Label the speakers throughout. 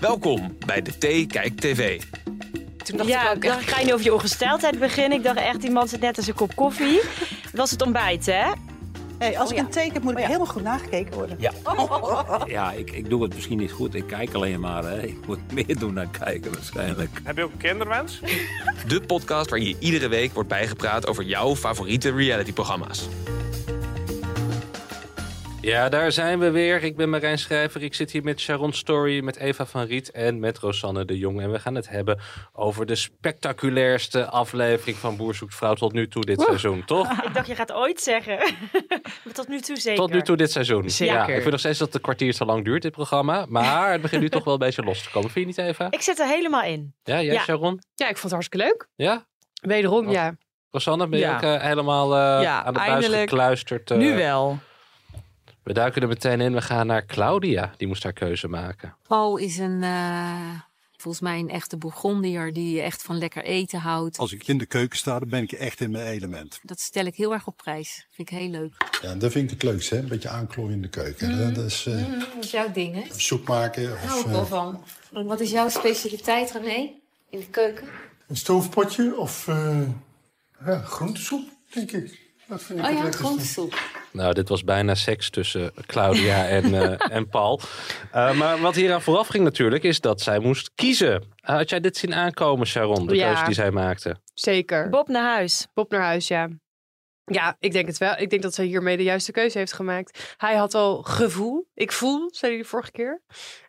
Speaker 1: Welkom bij de Thee Kijk TV.
Speaker 2: Toen dacht
Speaker 3: ja,
Speaker 2: ik ook
Speaker 3: dan
Speaker 2: echt,
Speaker 3: ga je nu over je ongesteldheid beginnen. Ik dacht echt, iemand zit net als een kop koffie. Dat was het ontbijt, hè?
Speaker 4: Nee, als
Speaker 2: Oh
Speaker 4: ik een teken heb, moet ik helemaal goed nagekeken worden.
Speaker 5: Ja, ja ik, ik doe het misschien niet goed. Ik kijk alleen maar. Hè. Ik moet meer doen dan kijken waarschijnlijk.
Speaker 6: Heb je ook een kinderwens?
Speaker 1: De podcast waarin je iedere week wordt bijgepraat over jouw favoriete realityprogramma's.
Speaker 7: Ja, daar zijn we weer. Ik ben Marijn Schrijver. Ik zit hier met Sharon Story, met Eva van Riet en met Rosanne de Jong. En we gaan het hebben over de spectaculairste aflevering van Boer Zoekt Vrouw tot nu toe dit seizoen,
Speaker 8: Ah,
Speaker 7: toch?
Speaker 3: Ik dacht, je gaat ooit zeggen. maar tot nu toe zeker.
Speaker 7: Tot nu toe dit seizoen.
Speaker 8: Zeker.
Speaker 7: Ja, ik vind nog steeds dat het een kwartier te lang duurt, dit programma. Maar het begint nu toch wel een beetje los te komen. Vind je niet, Eva?
Speaker 3: Ik zit er helemaal in.
Speaker 7: Ja, jij
Speaker 3: Ja.
Speaker 7: Sharon?
Speaker 8: Ja, ik vond het hartstikke leuk.
Speaker 7: Ja?
Speaker 8: Wederom,
Speaker 7: Wat-
Speaker 8: ja.
Speaker 7: Rosanne, ben je
Speaker 8: Ja.
Speaker 7: ook eh, helemaal eh,
Speaker 8: Ja,
Speaker 7: aan de buis
Speaker 8: eindelijk.
Speaker 7: gekluisterd? eh?
Speaker 8: Nu wel.
Speaker 7: We duiken er meteen in. We gaan naar Claudia. Die moest haar keuze maken.
Speaker 2: Paul is een, eh, volgens mij een echte Bourgondier die echt van lekker eten houdt.
Speaker 9: Als ik in de keuken sta, dan ben ik echt in mijn element.
Speaker 2: Dat stel ik heel erg op prijs. Vind ik heel leuk.
Speaker 10: Ja, dat vind ik het leukste, hè? een beetje aanklooien in de keuken.
Speaker 2: Mm.
Speaker 10: Dat- Dat is eh,
Speaker 2: Dat is jouw ding, hè?
Speaker 10: soep maken of eh,
Speaker 2: van. Wat is jouw specialiteit, René? In de keuken?
Speaker 10: een stoofpotje of eh ja, groentesoep, denk ik. Dat vind ik
Speaker 2: Oh
Speaker 10: het
Speaker 2: ja,
Speaker 10: lekkerste.
Speaker 2: groentesoep.
Speaker 7: Nou, dit was bijna seks tussen Claudia en, eh, en Paul. Eh, maar wat hier aan vooraf ging natuurlijk, is dat zij moest kiezen. Eh, had jij dit zien aankomen, Sharon, de
Speaker 8: Ja.
Speaker 7: keuze die zij maakte?
Speaker 8: Zeker.
Speaker 3: Bob naar huis.
Speaker 8: Bob naar huis, ja. Ja, ik denk het wel. Ik denk dat ze hiermee de juiste keuze heeft gemaakt. Hij had al gevoel. Ik voel, zei hij de vorige keer.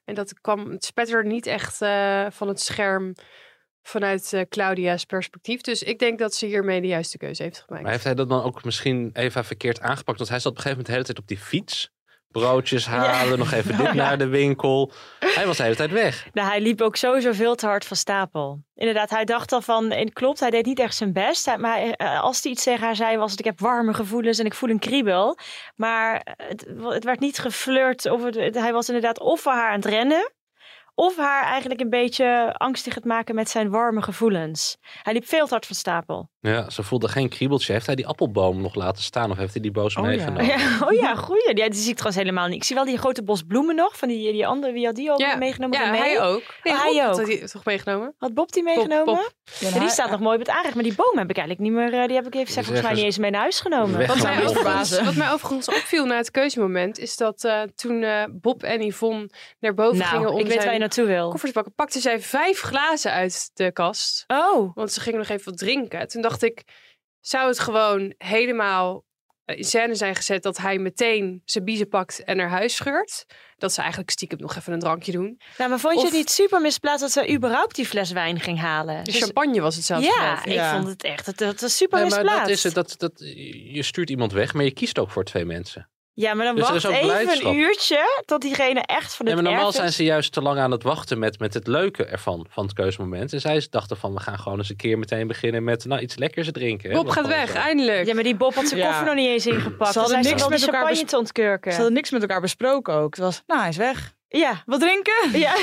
Speaker 8: En dat kwam, het spetterde niet echt eh, van het scherm vanuit eh, Claudia's perspectief. Dus ik denk dat ze hiermee de juiste keuze heeft gemaakt.
Speaker 7: Maar heeft hij dat dan ook misschien even verkeerd aangepakt? Want hij zat op een gegeven moment de hele tijd op die fiets. Broodjes halen, nog even dit naar de winkel. Hij was de hele tijd weg.
Speaker 3: Nou, hij liep ook sowieso veel te hard van stapel. Inderdaad, hij dacht al van, en klopt, hij deed niet echt zijn best. Hij- Maar eh, als hij iets tegen haar zei, was het, ik heb warme gevoelens en ik voel een kriebel. Maar eh, het, het werd niet geflirt. Of het- het- hij was inderdaad of voor haar aan het rennen, of haar eigenlijk een beetje angstig het maken met zijn warme gevoelens. Hij liep veel te hard van stapel.
Speaker 7: Ja, ze voelde geen kriebeltje. Heeft hij die appelboom nog laten staan of heeft hij die boos
Speaker 8: Oh ja.
Speaker 7: meegenomen?
Speaker 3: Ja, oh ja, goeie. Ja, die zie ik trouwens helemaal niet. Ik zie wel die grote bos bloemen nog, van die, die andere, wie had die al meegenomen?
Speaker 8: ja
Speaker 3: René?
Speaker 8: hij ook. Nee,
Speaker 3: Oh, hij
Speaker 8: Bob had
Speaker 3: ook.
Speaker 8: hij toch meegenomen?
Speaker 3: Had Bob die
Speaker 8: Bob,
Speaker 3: meegenomen?
Speaker 8: Bob.
Speaker 4: Ja,
Speaker 3: Ja, die staat nog mooi op het aanrecht. Maar die boom heb ik eigenlijk niet meer. eh, Die heb ik even
Speaker 7: Die is
Speaker 3: volgens mij niet
Speaker 7: ergens
Speaker 3: eens mee naar huis genomen.
Speaker 7: weg.
Speaker 8: Wat
Speaker 7: Echt
Speaker 8: mij,
Speaker 7: wel
Speaker 8: overigens,
Speaker 4: verbazen.
Speaker 8: wat mij overigens opviel na het keuzemoment is dat eh, toen eh, Bob en Yvonne naar boven gingen
Speaker 3: Nou,
Speaker 8: om
Speaker 3: ik weet waar je
Speaker 8: zijn
Speaker 3: naartoe wil.
Speaker 8: koffers te pakken, pakte zij vijf glazen uit de kast.
Speaker 3: Oh,
Speaker 8: Want ze gingen nog even wat drinken. Toen dacht ik, zou het gewoon helemaal eh, in scène zijn gezet dat hij meteen zijn biezen pakt en naar huis scheurt? Dat ze eigenlijk stiekem nog even een drankje doen.
Speaker 3: nou, maar vond je
Speaker 8: Of-
Speaker 3: het niet super misplaatst dat ze überhaupt die fles wijn ging halen?
Speaker 8: De
Speaker 3: Dus-
Speaker 8: champagne was het zelfs.
Speaker 3: ja,
Speaker 8: geloof ik.
Speaker 3: ik vond het echt. Dat, dat was super
Speaker 7: Nee, maar
Speaker 3: misplaatst.
Speaker 7: dat is het. Dat, dat, je stuurt iemand weg, maar je kiest ook voor twee mensen.
Speaker 3: Ja, maar dan
Speaker 7: Dus er is
Speaker 3: wacht
Speaker 7: ook
Speaker 3: even
Speaker 7: blijdschap.
Speaker 3: een uurtje tot diegene echt van
Speaker 7: Ja,
Speaker 3: het
Speaker 7: maar normaal
Speaker 3: erf
Speaker 7: zijn
Speaker 3: is.
Speaker 7: ze juist te lang aan het wachten met, met het leuke ervan, van het keuzemoment. En zij dachten van, we gaan gewoon eens een keer meteen beginnen met nou, iets lekkers drinken. hè. eh,
Speaker 8: Bob
Speaker 7: Dat
Speaker 8: gaat
Speaker 7: gewoon
Speaker 8: weg,
Speaker 7: zo.
Speaker 8: eindelijk.
Speaker 3: Ja, maar die Bob had zijn
Speaker 4: Ja.
Speaker 3: koffer nog niet eens ingepakt.
Speaker 4: Ze
Speaker 3: Dan
Speaker 4: hadden
Speaker 3: zijn
Speaker 4: niks
Speaker 3: wel
Speaker 4: met
Speaker 3: die
Speaker 4: elkaar
Speaker 3: champagne
Speaker 4: bes-
Speaker 3: te
Speaker 4: Ze
Speaker 3: ontkurken.
Speaker 4: hadden niks met elkaar besproken ook. Het was, nou, hij is weg.
Speaker 3: Ja.
Speaker 4: Wat drinken?
Speaker 3: Ja.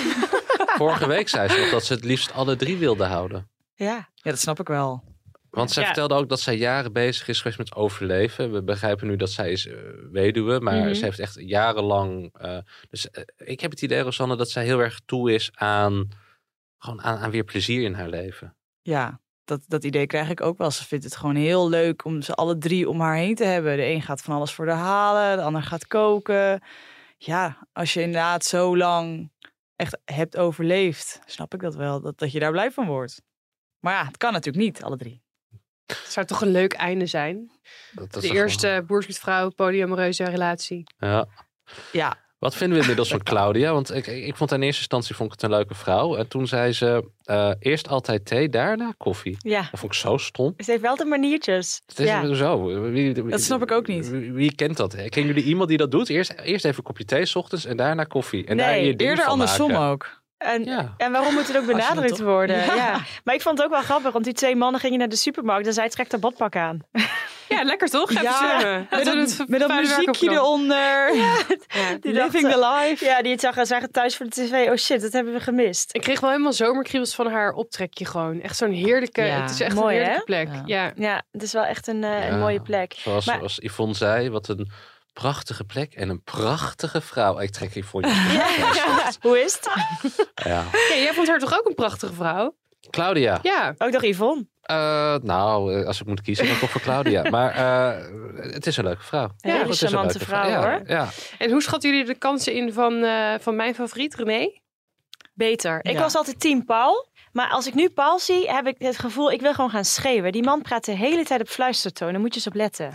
Speaker 7: Vorige week zei ze nog dat ze het liefst alle drie wilden houden.
Speaker 3: ja.
Speaker 4: Ja, dat snap ik wel.
Speaker 7: Want zij
Speaker 3: Ja.
Speaker 7: vertelde ook dat zij jaren bezig is geweest met overleven. We begrijpen nu dat zij is eh, weduwe, maar
Speaker 3: Mhm.
Speaker 7: ze heeft echt jarenlang... eh, dus eh, ik heb het idee, Rosanne, dat zij heel erg toe is aan, gewoon aan, aan weer plezier in haar leven.
Speaker 4: Ja, dat, dat idee krijg ik ook wel. Ze vindt het gewoon heel leuk om ze alle drie om haar heen te hebben. De een gaat van alles voor haar halen, de ander gaat koken. Ja, als je inderdaad zo lang echt hebt overleefd, snap ik dat wel, dat, dat je daar blij van wordt. Maar ja, het kan natuurlijk niet, alle drie.
Speaker 8: Het zou toch een leuk einde zijn?
Speaker 7: Dat, dat
Speaker 8: de
Speaker 7: is toch-
Speaker 8: eerste boerskutvrouw, polyamoreuze relatie.
Speaker 7: Ja.
Speaker 4: Ja,
Speaker 7: Wat vinden we inmiddels van Claudia? Want ik, ik, ik vond haar in eerste instantie vond ik het een leuke vrouw. En toen zei ze eh, eerst altijd thee, daarna koffie.
Speaker 3: ja.
Speaker 7: Dat vond ik zo stom.
Speaker 3: Ze heeft wel de maniertjes.
Speaker 7: Het is
Speaker 3: ja.
Speaker 7: zo. Wie, wie-
Speaker 4: Dat snap ik ook niet.
Speaker 7: Wie, wie kent dat? hè? Kennen jullie iemand die dat doet? Eerst, eerst even een kopje thee 's ochtends en daarna koffie. En
Speaker 3: Nee,
Speaker 7: daar je ding
Speaker 4: eerder
Speaker 7: van
Speaker 4: andersom
Speaker 7: maken.
Speaker 4: ook.
Speaker 3: En,
Speaker 7: Ja.
Speaker 3: en waarom moet het ook
Speaker 4: je dat
Speaker 3: benadrukt
Speaker 4: toch-
Speaker 3: worden? Ja.
Speaker 4: Ja.
Speaker 3: Maar ik vond het ook wel grappig, want die twee mannen gingen naar de supermarkt en zij trekt haar badpak aan.
Speaker 8: Ja, lekker toch? Even
Speaker 4: Ja.
Speaker 8: zwemmen.
Speaker 4: Met
Speaker 8: Laten we
Speaker 4: dat,
Speaker 8: het
Speaker 4: met dat
Speaker 8: vuile werk
Speaker 4: muziekje
Speaker 8: opknappen.
Speaker 4: eronder.
Speaker 8: Ja.
Speaker 3: Die
Speaker 4: Living
Speaker 3: dacht,
Speaker 4: the life.
Speaker 3: Ja, die het zag en zagen thuis voor de tv. Oh shit, dat hebben we gemist.
Speaker 8: Ik kreeg wel helemaal zomerkriebels van haar optrekje gewoon. Echt zo'n heerlijke,
Speaker 4: Ja.
Speaker 8: het is echt
Speaker 3: Mooi,
Speaker 8: een heerlijke
Speaker 3: hè?
Speaker 8: plek.
Speaker 4: Ja.
Speaker 8: Ja.
Speaker 3: Ja, het is wel echt een, eh,
Speaker 7: Ja.
Speaker 3: een mooie plek.
Speaker 7: Zoals,
Speaker 3: Maar-
Speaker 7: zoals Yvonne zei, wat een prachtige plek en een prachtige vrouw. Ik trek hier voor je.
Speaker 3: Hoe is het?
Speaker 7: Ja.
Speaker 8: Ja, jij vond haar toch ook een prachtige vrouw?
Speaker 7: Claudia.
Speaker 8: Ja.
Speaker 3: Ook nog Yvonne.
Speaker 7: Eh, nou, eh, als ik moet kiezen, dan toch voor Claudia. Maar eh, het is een leuke vrouw.
Speaker 3: Een
Speaker 8: hele
Speaker 7: Het is een
Speaker 3: charmante
Speaker 7: leuke
Speaker 3: vrouw,
Speaker 7: Ja,
Speaker 3: hoor.
Speaker 7: Ja,
Speaker 8: En hoe schatten jullie de kansen in van, eh, van mijn favoriet, René?
Speaker 3: Beter. Ik
Speaker 4: Ja.
Speaker 3: was altijd team Paul. Maar als ik nu Paul zie, heb ik het gevoel, ik wil gewoon gaan schreeuwen. Die man praat de hele tijd op fluistertoon. Daar moet je eens op letten.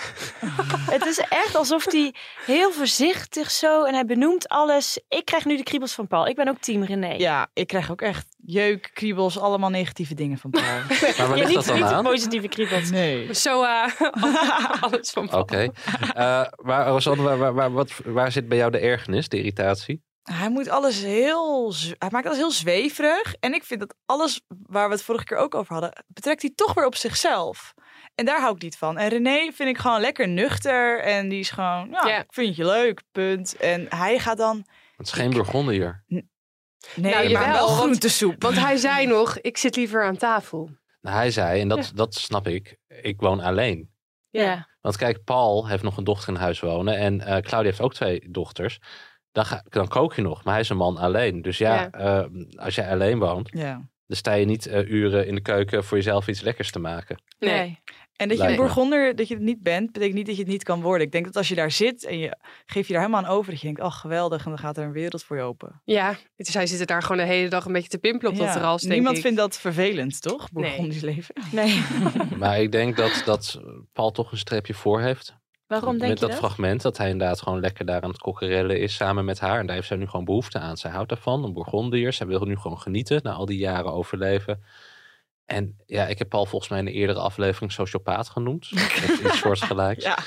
Speaker 3: het is echt alsof hij heel voorzichtig zo, en hij benoemt alles. Ik krijg nu de kriebels van Paul. Ik ben ook team René.
Speaker 4: Ja, ik krijg ook echt jeuk, kriebels, allemaal negatieve dingen van Paul.
Speaker 7: Maar waar
Speaker 3: Ja,
Speaker 7: ligt
Speaker 3: niet,
Speaker 7: dat dan
Speaker 3: niet de
Speaker 7: aan?
Speaker 3: positieve kriebels.
Speaker 4: nee.
Speaker 8: Zo, eh, alles van
Speaker 7: Oké. Eh, maar Rosanne, waar, waar, waar, wat, waar zit bij jou de ergernis, de irritatie?
Speaker 4: Hij moet alles heel. z- Hij maakt alles heel zweverig. En ik vind dat alles waar we het vorige keer ook over hadden, betrekt hij toch weer op zichzelf. En daar hou ik niet van. En René vind ik gewoon lekker nuchter. En die is gewoon, ja,
Speaker 8: Ja.
Speaker 4: ik vind je leuk, punt. En hij gaat dan,
Speaker 7: Het is geen Burgonde hier.
Speaker 4: nee,
Speaker 8: Nou,
Speaker 4: maar
Speaker 8: jawel,
Speaker 4: wel
Speaker 8: want-
Speaker 4: groentesoep.
Speaker 8: Want hij zei nog, ik zit liever aan tafel.
Speaker 7: Nou, hij zei, en dat, dat snap ik, ik woon alleen.
Speaker 3: Ja.
Speaker 7: Want kijk, Paul heeft nog een dochter in huis wonen. En eh, Claudia heeft ook twee dochters. Dan, ga, dan kook je nog, maar hij is een man alleen. Dus ja,
Speaker 8: Ja.
Speaker 7: eh, als jij alleen woont,
Speaker 4: Ja.
Speaker 7: dan sta je niet eh, uren in de keuken voor jezelf iets lekkers te maken.
Speaker 8: Nee.
Speaker 4: En dat je een
Speaker 7: Lijkt me.
Speaker 4: Bourgonder, dat je het niet bent, betekent niet dat je het niet kan worden. Ik denk dat als je daar zit en je geeft je daar helemaal aan over, dat je denkt, ach geweldig, en dan gaat er een wereld voor je open.
Speaker 8: Ja, dus hij zit er daar gewoon de hele dag een beetje te pimpelen op
Speaker 4: Ja.
Speaker 8: dat terras, denk
Speaker 4: Niemand
Speaker 8: ik.
Speaker 4: vindt dat vervelend, toch?
Speaker 8: Nee.
Speaker 4: Bourgondisch leven.
Speaker 3: Nee.
Speaker 7: maar ik denk dat, dat Paul toch een streepje voor heeft.
Speaker 3: Waarom denk
Speaker 7: met
Speaker 3: je
Speaker 7: dat,
Speaker 3: dat?
Speaker 7: fragment dat hij inderdaad gewoon lekker daar aan het kokkerellen is samen met haar. En daar heeft zij nu gewoon behoefte aan. Zij houdt daarvan, een Bourgondiër. Zij wil nu gewoon genieten na al die jaren overleven. En ja, ik heb Paul volgens mij in een eerdere aflevering sociopaat genoemd. Of iets soortgelijks.
Speaker 4: Ja.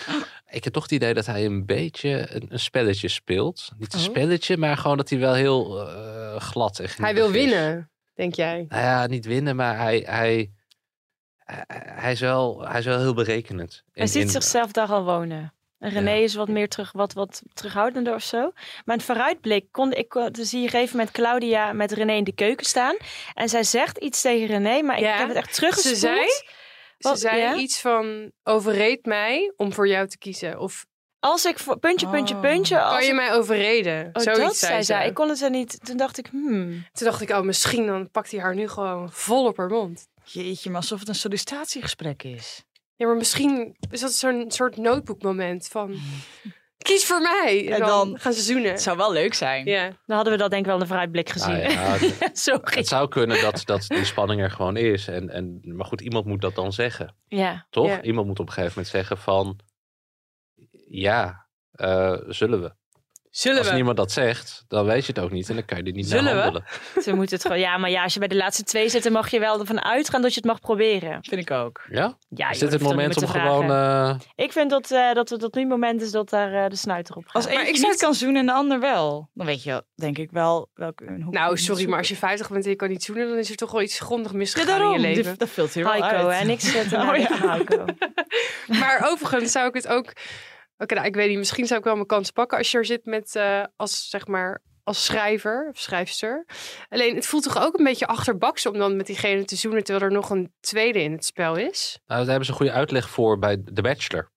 Speaker 7: Ik heb toch het idee dat hij een beetje een, een spelletje speelt. Niet een
Speaker 3: Oh.
Speaker 7: spelletje, maar gewoon dat hij wel heel eh, glad en
Speaker 8: Hij
Speaker 7: geniepig
Speaker 8: wil
Speaker 7: is.
Speaker 8: winnen, denk jij.
Speaker 7: Nou ja, niet winnen, maar hij, hij, hij, hij is, wel, hij is wel heel berekenend.
Speaker 3: Hij
Speaker 7: In-
Speaker 3: ziet
Speaker 7: in-
Speaker 3: zichzelf daar al wonen. En René
Speaker 7: Ja.
Speaker 3: is wat meer terug, wat, wat terughoudender of zo. Maar een vooruitblik kon ik kon- dan zie je op een gegeven moment Claudia met René in de keuken staan. En zij zegt iets tegen René, maar
Speaker 8: Ja.
Speaker 3: ik heb het echt teruggespoeld.
Speaker 8: Ze zei,
Speaker 3: Wat-
Speaker 8: ze zei
Speaker 3: ja?
Speaker 8: iets van, overreed mij om voor jou te kiezen. Of
Speaker 3: Als ik voor, puntje, puntje,
Speaker 4: Oh.
Speaker 3: puntje. Als
Speaker 8: kan je
Speaker 3: ik-
Speaker 8: mij overreden?
Speaker 3: Oh,
Speaker 8: Zoiets
Speaker 3: dat zei zij.
Speaker 8: ze.
Speaker 3: Ik kon het er niet. Toen dacht ik, hmm.
Speaker 8: Toen dacht ik, oh, misschien dan pakt hij haar nu gewoon vol op haar mond.
Speaker 4: Jeetje, maar alsof het een sollicitatiegesprek is.
Speaker 8: Ja, maar misschien is dat zo'n soort notebookmoment van... Kies voor mij! En
Speaker 4: En
Speaker 8: dan,
Speaker 4: dan-
Speaker 8: gaan ze zoenen.
Speaker 4: Het zou wel leuk zijn.
Speaker 8: Ja.
Speaker 3: Dan hadden we dat denk ik wel in de vooruitblik gezien.
Speaker 7: Nou ja, het-
Speaker 3: zo ging
Speaker 7: Het zou kunnen dat, dat die spanning er gewoon is. En, en, maar goed, iemand moet dat dan zeggen,
Speaker 3: Ja.
Speaker 7: toch?
Speaker 8: Ja.
Speaker 7: Iemand moet op een gegeven moment zeggen van... Ja, eh, zullen we?
Speaker 8: Zullen
Speaker 7: Als
Speaker 8: we?
Speaker 7: niemand dat zegt, dan weet je het ook niet. En dan kan je er niet
Speaker 8: Zullen
Speaker 7: naar
Speaker 8: we?
Speaker 7: handelen.
Speaker 3: Ze moeten het gewoon. Ja, maar ja, als je bij de laatste twee zit, dan mag je wel ervan uitgaan dat je het mag proberen.
Speaker 4: Vind ik ook.
Speaker 7: Ja?
Speaker 3: Ja,
Speaker 7: is
Speaker 3: joh, dat
Speaker 7: dit het
Speaker 3: hoeft ook
Speaker 7: moment
Speaker 3: niet
Speaker 7: om
Speaker 3: meer te
Speaker 7: gewoon...
Speaker 3: vragen.
Speaker 7: eh,
Speaker 3: Ik vind dat, eh, dat het dat nu het moment is dat daar eh, de snuiter op gaat.
Speaker 4: Als één
Speaker 8: ik
Speaker 4: ik
Speaker 8: zou
Speaker 4: niet kan zoenen en de ander wel, dan weet je, denk ik wel welke een hoek. je
Speaker 8: Nou,
Speaker 4: moet
Speaker 8: sorry, maar als je
Speaker 4: zoeken.
Speaker 8: 50 bent en je kan niet zoenen... dan is er toch wel iets grondig misgegaan
Speaker 4: ja, daarom,
Speaker 8: in je
Speaker 4: die-
Speaker 8: leven.
Speaker 4: dat filter je wel
Speaker 3: Heiko,
Speaker 4: uit.
Speaker 3: en ik zet
Speaker 4: Oh,
Speaker 3: oh,
Speaker 4: ja.
Speaker 3: ja. Heiko.
Speaker 8: Maar overigens zou ik het ook. Oké, nou, ik weet niet. Misschien zou ik wel mijn kans pakken als je er zit met. eh, als zeg maar. Als schrijver of schrijfster. Alleen het voelt toch ook een beetje achterbaks om dan met diegene te zoenen. terwijl er nog een tweede in het spel is.
Speaker 7: nou, daar hebben ze een goede uitleg voor bij The Bachelor.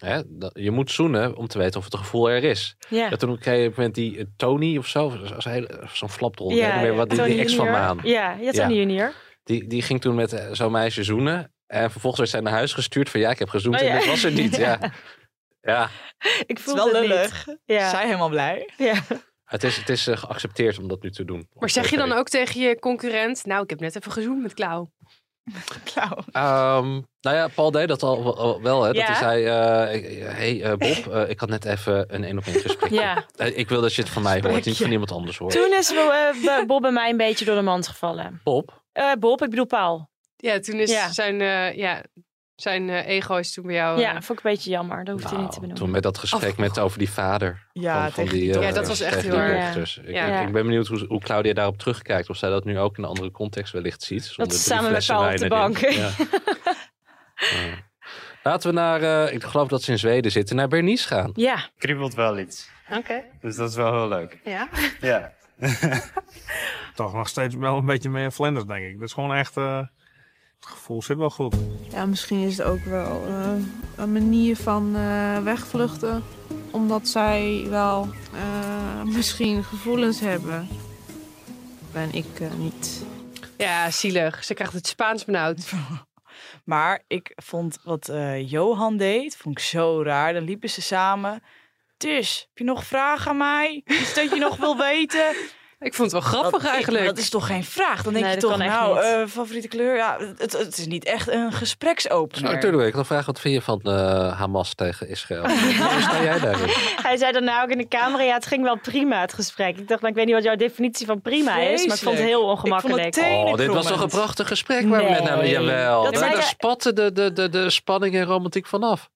Speaker 7: Hè? dat- Je moet zoenen om te weten of het gevoel er is.
Speaker 3: Ja.
Speaker 7: Ja, toen kreeg je op een moment die eh, Tony of zo, zo'n hele- zo'n flapdrol. ik weet niet meer wat die,
Speaker 3: Tony
Speaker 7: die ex van
Speaker 3: junior.
Speaker 7: Maan.
Speaker 3: Ja, ja Tony junior.
Speaker 7: Die, die ging toen met eh, zo'n meisje zoenen. En vervolgens werd zij naar huis gestuurd van ja, ik heb gezoend
Speaker 3: Oh, ja.
Speaker 7: en dat was er niet. Ja, ja.
Speaker 3: Ik
Speaker 4: Het is
Speaker 3: voel
Speaker 4: wel
Speaker 3: het niet.
Speaker 4: lullig.
Speaker 3: Ja.
Speaker 4: Zij helemaal blij.
Speaker 3: Ja.
Speaker 7: Het, is, het is eh, geaccepteerd om dat nu te doen.
Speaker 8: Maar zeg je dan
Speaker 7: Oké.
Speaker 8: ook tegen je concurrent. Nou, ik heb net even gezoend met Klauw.
Speaker 4: Nou,
Speaker 7: Ehm, nou ja, Paul deed dat al, wel- wel. Hè? Dat
Speaker 3: Ja.
Speaker 7: hij zei, eh, hey eh, Bob, eh, ik had net even een één op één gesprek.
Speaker 3: ja.
Speaker 7: Eh, ik wil dat je het van mij hoort, niet
Speaker 4: Gesprekje.
Speaker 7: van iemand anders hoort.
Speaker 3: Toen is eh, Bo- Bob bij mij een beetje door de mand gevallen.
Speaker 7: Bob,
Speaker 3: Eh, Bob, ik bedoel Paul.
Speaker 8: Ja, toen is
Speaker 3: Ja.
Speaker 8: zijn. eh, ja, zijn eh, ego is toen bij jou. eh,
Speaker 3: Ja, vond ik een beetje jammer. Dat hoeft hij niet te
Speaker 7: nou,
Speaker 3: benoemen. Oh.
Speaker 7: toen met dat gesprek met over die vader.
Speaker 4: ja,
Speaker 7: van, van
Speaker 4: tegen
Speaker 7: die,
Speaker 4: die
Speaker 7: eh,
Speaker 8: Ja, dat was echt
Speaker 7: tegen
Speaker 8: heel
Speaker 7: die
Speaker 3: erg.
Speaker 7: dochters. Ik,
Speaker 8: Ja.
Speaker 7: ik- ik ben benieuwd hoe, hoe Claudia daarop terugkijkt. Of zij dat nu ook in een andere context wellicht ziet. zonder
Speaker 3: ze
Speaker 7: drie
Speaker 3: samen met
Speaker 7: flessen
Speaker 3: Paul
Speaker 7: wijn
Speaker 3: op de
Speaker 7: erin.
Speaker 3: bank.
Speaker 7: Ja. Ja. Laten we naar, eh, ik geloof dat ze in Zweden zitten, naar Bernice gaan.
Speaker 3: Ja,
Speaker 6: kriebelt wel iets.
Speaker 8: eh,
Speaker 11: Oké,
Speaker 6: Dus dat is wel heel leuk.
Speaker 11: ja.
Speaker 6: Ja.
Speaker 11: Toch nog steeds wel een beetje meer Flanders, denk ik. Dat is gewoon echt eh, Het gevoel zit wel goed.
Speaker 12: Ja, misschien is het ook wel eh, een manier van eh, wegvluchten. Omdat zij wel eh, misschien gevoelens Dus hebben. Ben ik eh, niet.
Speaker 8: Ja, zielig. Ze krijgt het Spaans benauwd.
Speaker 4: Maar ik vond wat eh, Johan deed, vond ik zo raar. Dan liepen ze samen. Dus, heb je nog vragen aan mij? Iets dat je nog wil weten?
Speaker 8: Ik vond het wel grappig
Speaker 4: dat,
Speaker 8: eigenlijk.
Speaker 4: Dat is toch geen vraag? Dan denk
Speaker 8: Nee,
Speaker 4: je
Speaker 8: dat
Speaker 4: toch,
Speaker 8: kan echt
Speaker 4: nou,
Speaker 8: niet.
Speaker 4: eh, favoriete kleur? Ja, het, het is niet echt een gespreksopener.
Speaker 7: Nou, tuurlijk. Ik wil vragen, wat vind je van eh, Hamas tegen Israël? Hoe sta jij daarin?
Speaker 3: Hij zei daarna ook in de camera, ja, het ging wel prima, het gesprek. Ik dacht, nou, ik weet niet wat jouw definitie van prima is, maar ik vond het heel ongemakkelijk.
Speaker 7: Oh, dit was toch een prachtig gesprek waar we net naar...
Speaker 3: Nee.
Speaker 7: Jawel.
Speaker 3: Dat
Speaker 7: Maar
Speaker 3: zei
Speaker 7: daar
Speaker 3: je-
Speaker 7: spatte de, de, de, de spanning en romantiek vanaf.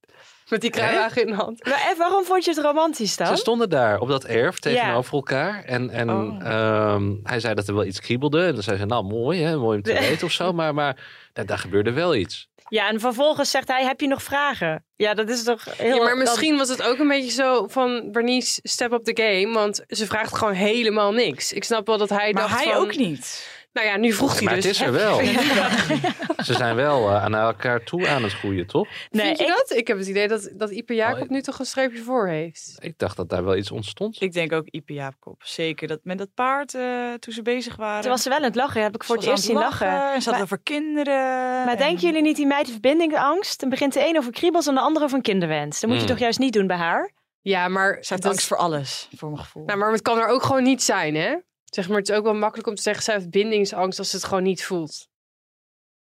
Speaker 8: Met die kruiwagen in de hand.
Speaker 3: Maar eh, waarom vond je het romantisch dan?
Speaker 7: Ze stonden daar op dat erf
Speaker 3: Ja.
Speaker 7: tegenover elkaar. En, en ehm, hij zei dat er wel iets kriebelde. En dan zei ze, nou mooi hè, mooi om te weten of zo. Maar, maar daar, daar gebeurde wel iets.
Speaker 3: Ja, en vervolgens zegt hij, heb je nog vragen? Ja, dat is toch heel...
Speaker 8: Ja, maar
Speaker 3: dat-
Speaker 8: misschien was het ook een beetje zo van Bernice, step up the game. Want ze vraagt gewoon helemaal niks. Ik snap wel dat hij
Speaker 4: Maar
Speaker 8: dacht
Speaker 4: hij
Speaker 8: van-
Speaker 4: ook niet.
Speaker 8: Nou ja, nu vroeg hij
Speaker 7: Maar
Speaker 8: dus.
Speaker 7: het is er
Speaker 8: heb je-
Speaker 7: wel.
Speaker 8: Ja.
Speaker 7: Ze zijn wel eh, aan elkaar toe aan het groeien, toch?
Speaker 8: Nee, Vind je dat? Ik heb het idee dat, dat Ipe Jacob
Speaker 7: Oh,
Speaker 8: nu toch een streepje voor heeft.
Speaker 7: Ik dacht dat daar wel iets ontstond.
Speaker 4: Ik denk ook Ipe Jaapkop. Zeker dat met dat paard eh, toen ze bezig waren.
Speaker 3: Toen was ze wel aan het lachen, heb ik voor het
Speaker 4: Ze was
Speaker 3: eerst
Speaker 4: aan
Speaker 3: zien
Speaker 4: het
Speaker 3: lachen.
Speaker 4: En ze had
Speaker 3: Maar-
Speaker 4: het over kinderen.
Speaker 3: Maar denken jullie niet die meid verbindingangst? Dan begint de een over kriebels en de andere over een kinderwens. Dat moet je
Speaker 4: Hmm.
Speaker 3: toch juist niet doen bij haar?
Speaker 8: Ja, maar...
Speaker 4: Ze heeft angst voor alles, voor mijn gevoel.
Speaker 8: Nou, maar het kan er ook gewoon niet zijn, hè? Zeg maar, het is ook wel makkelijk om te zeggen, zij heeft bindingsangst als ze het gewoon niet voelt.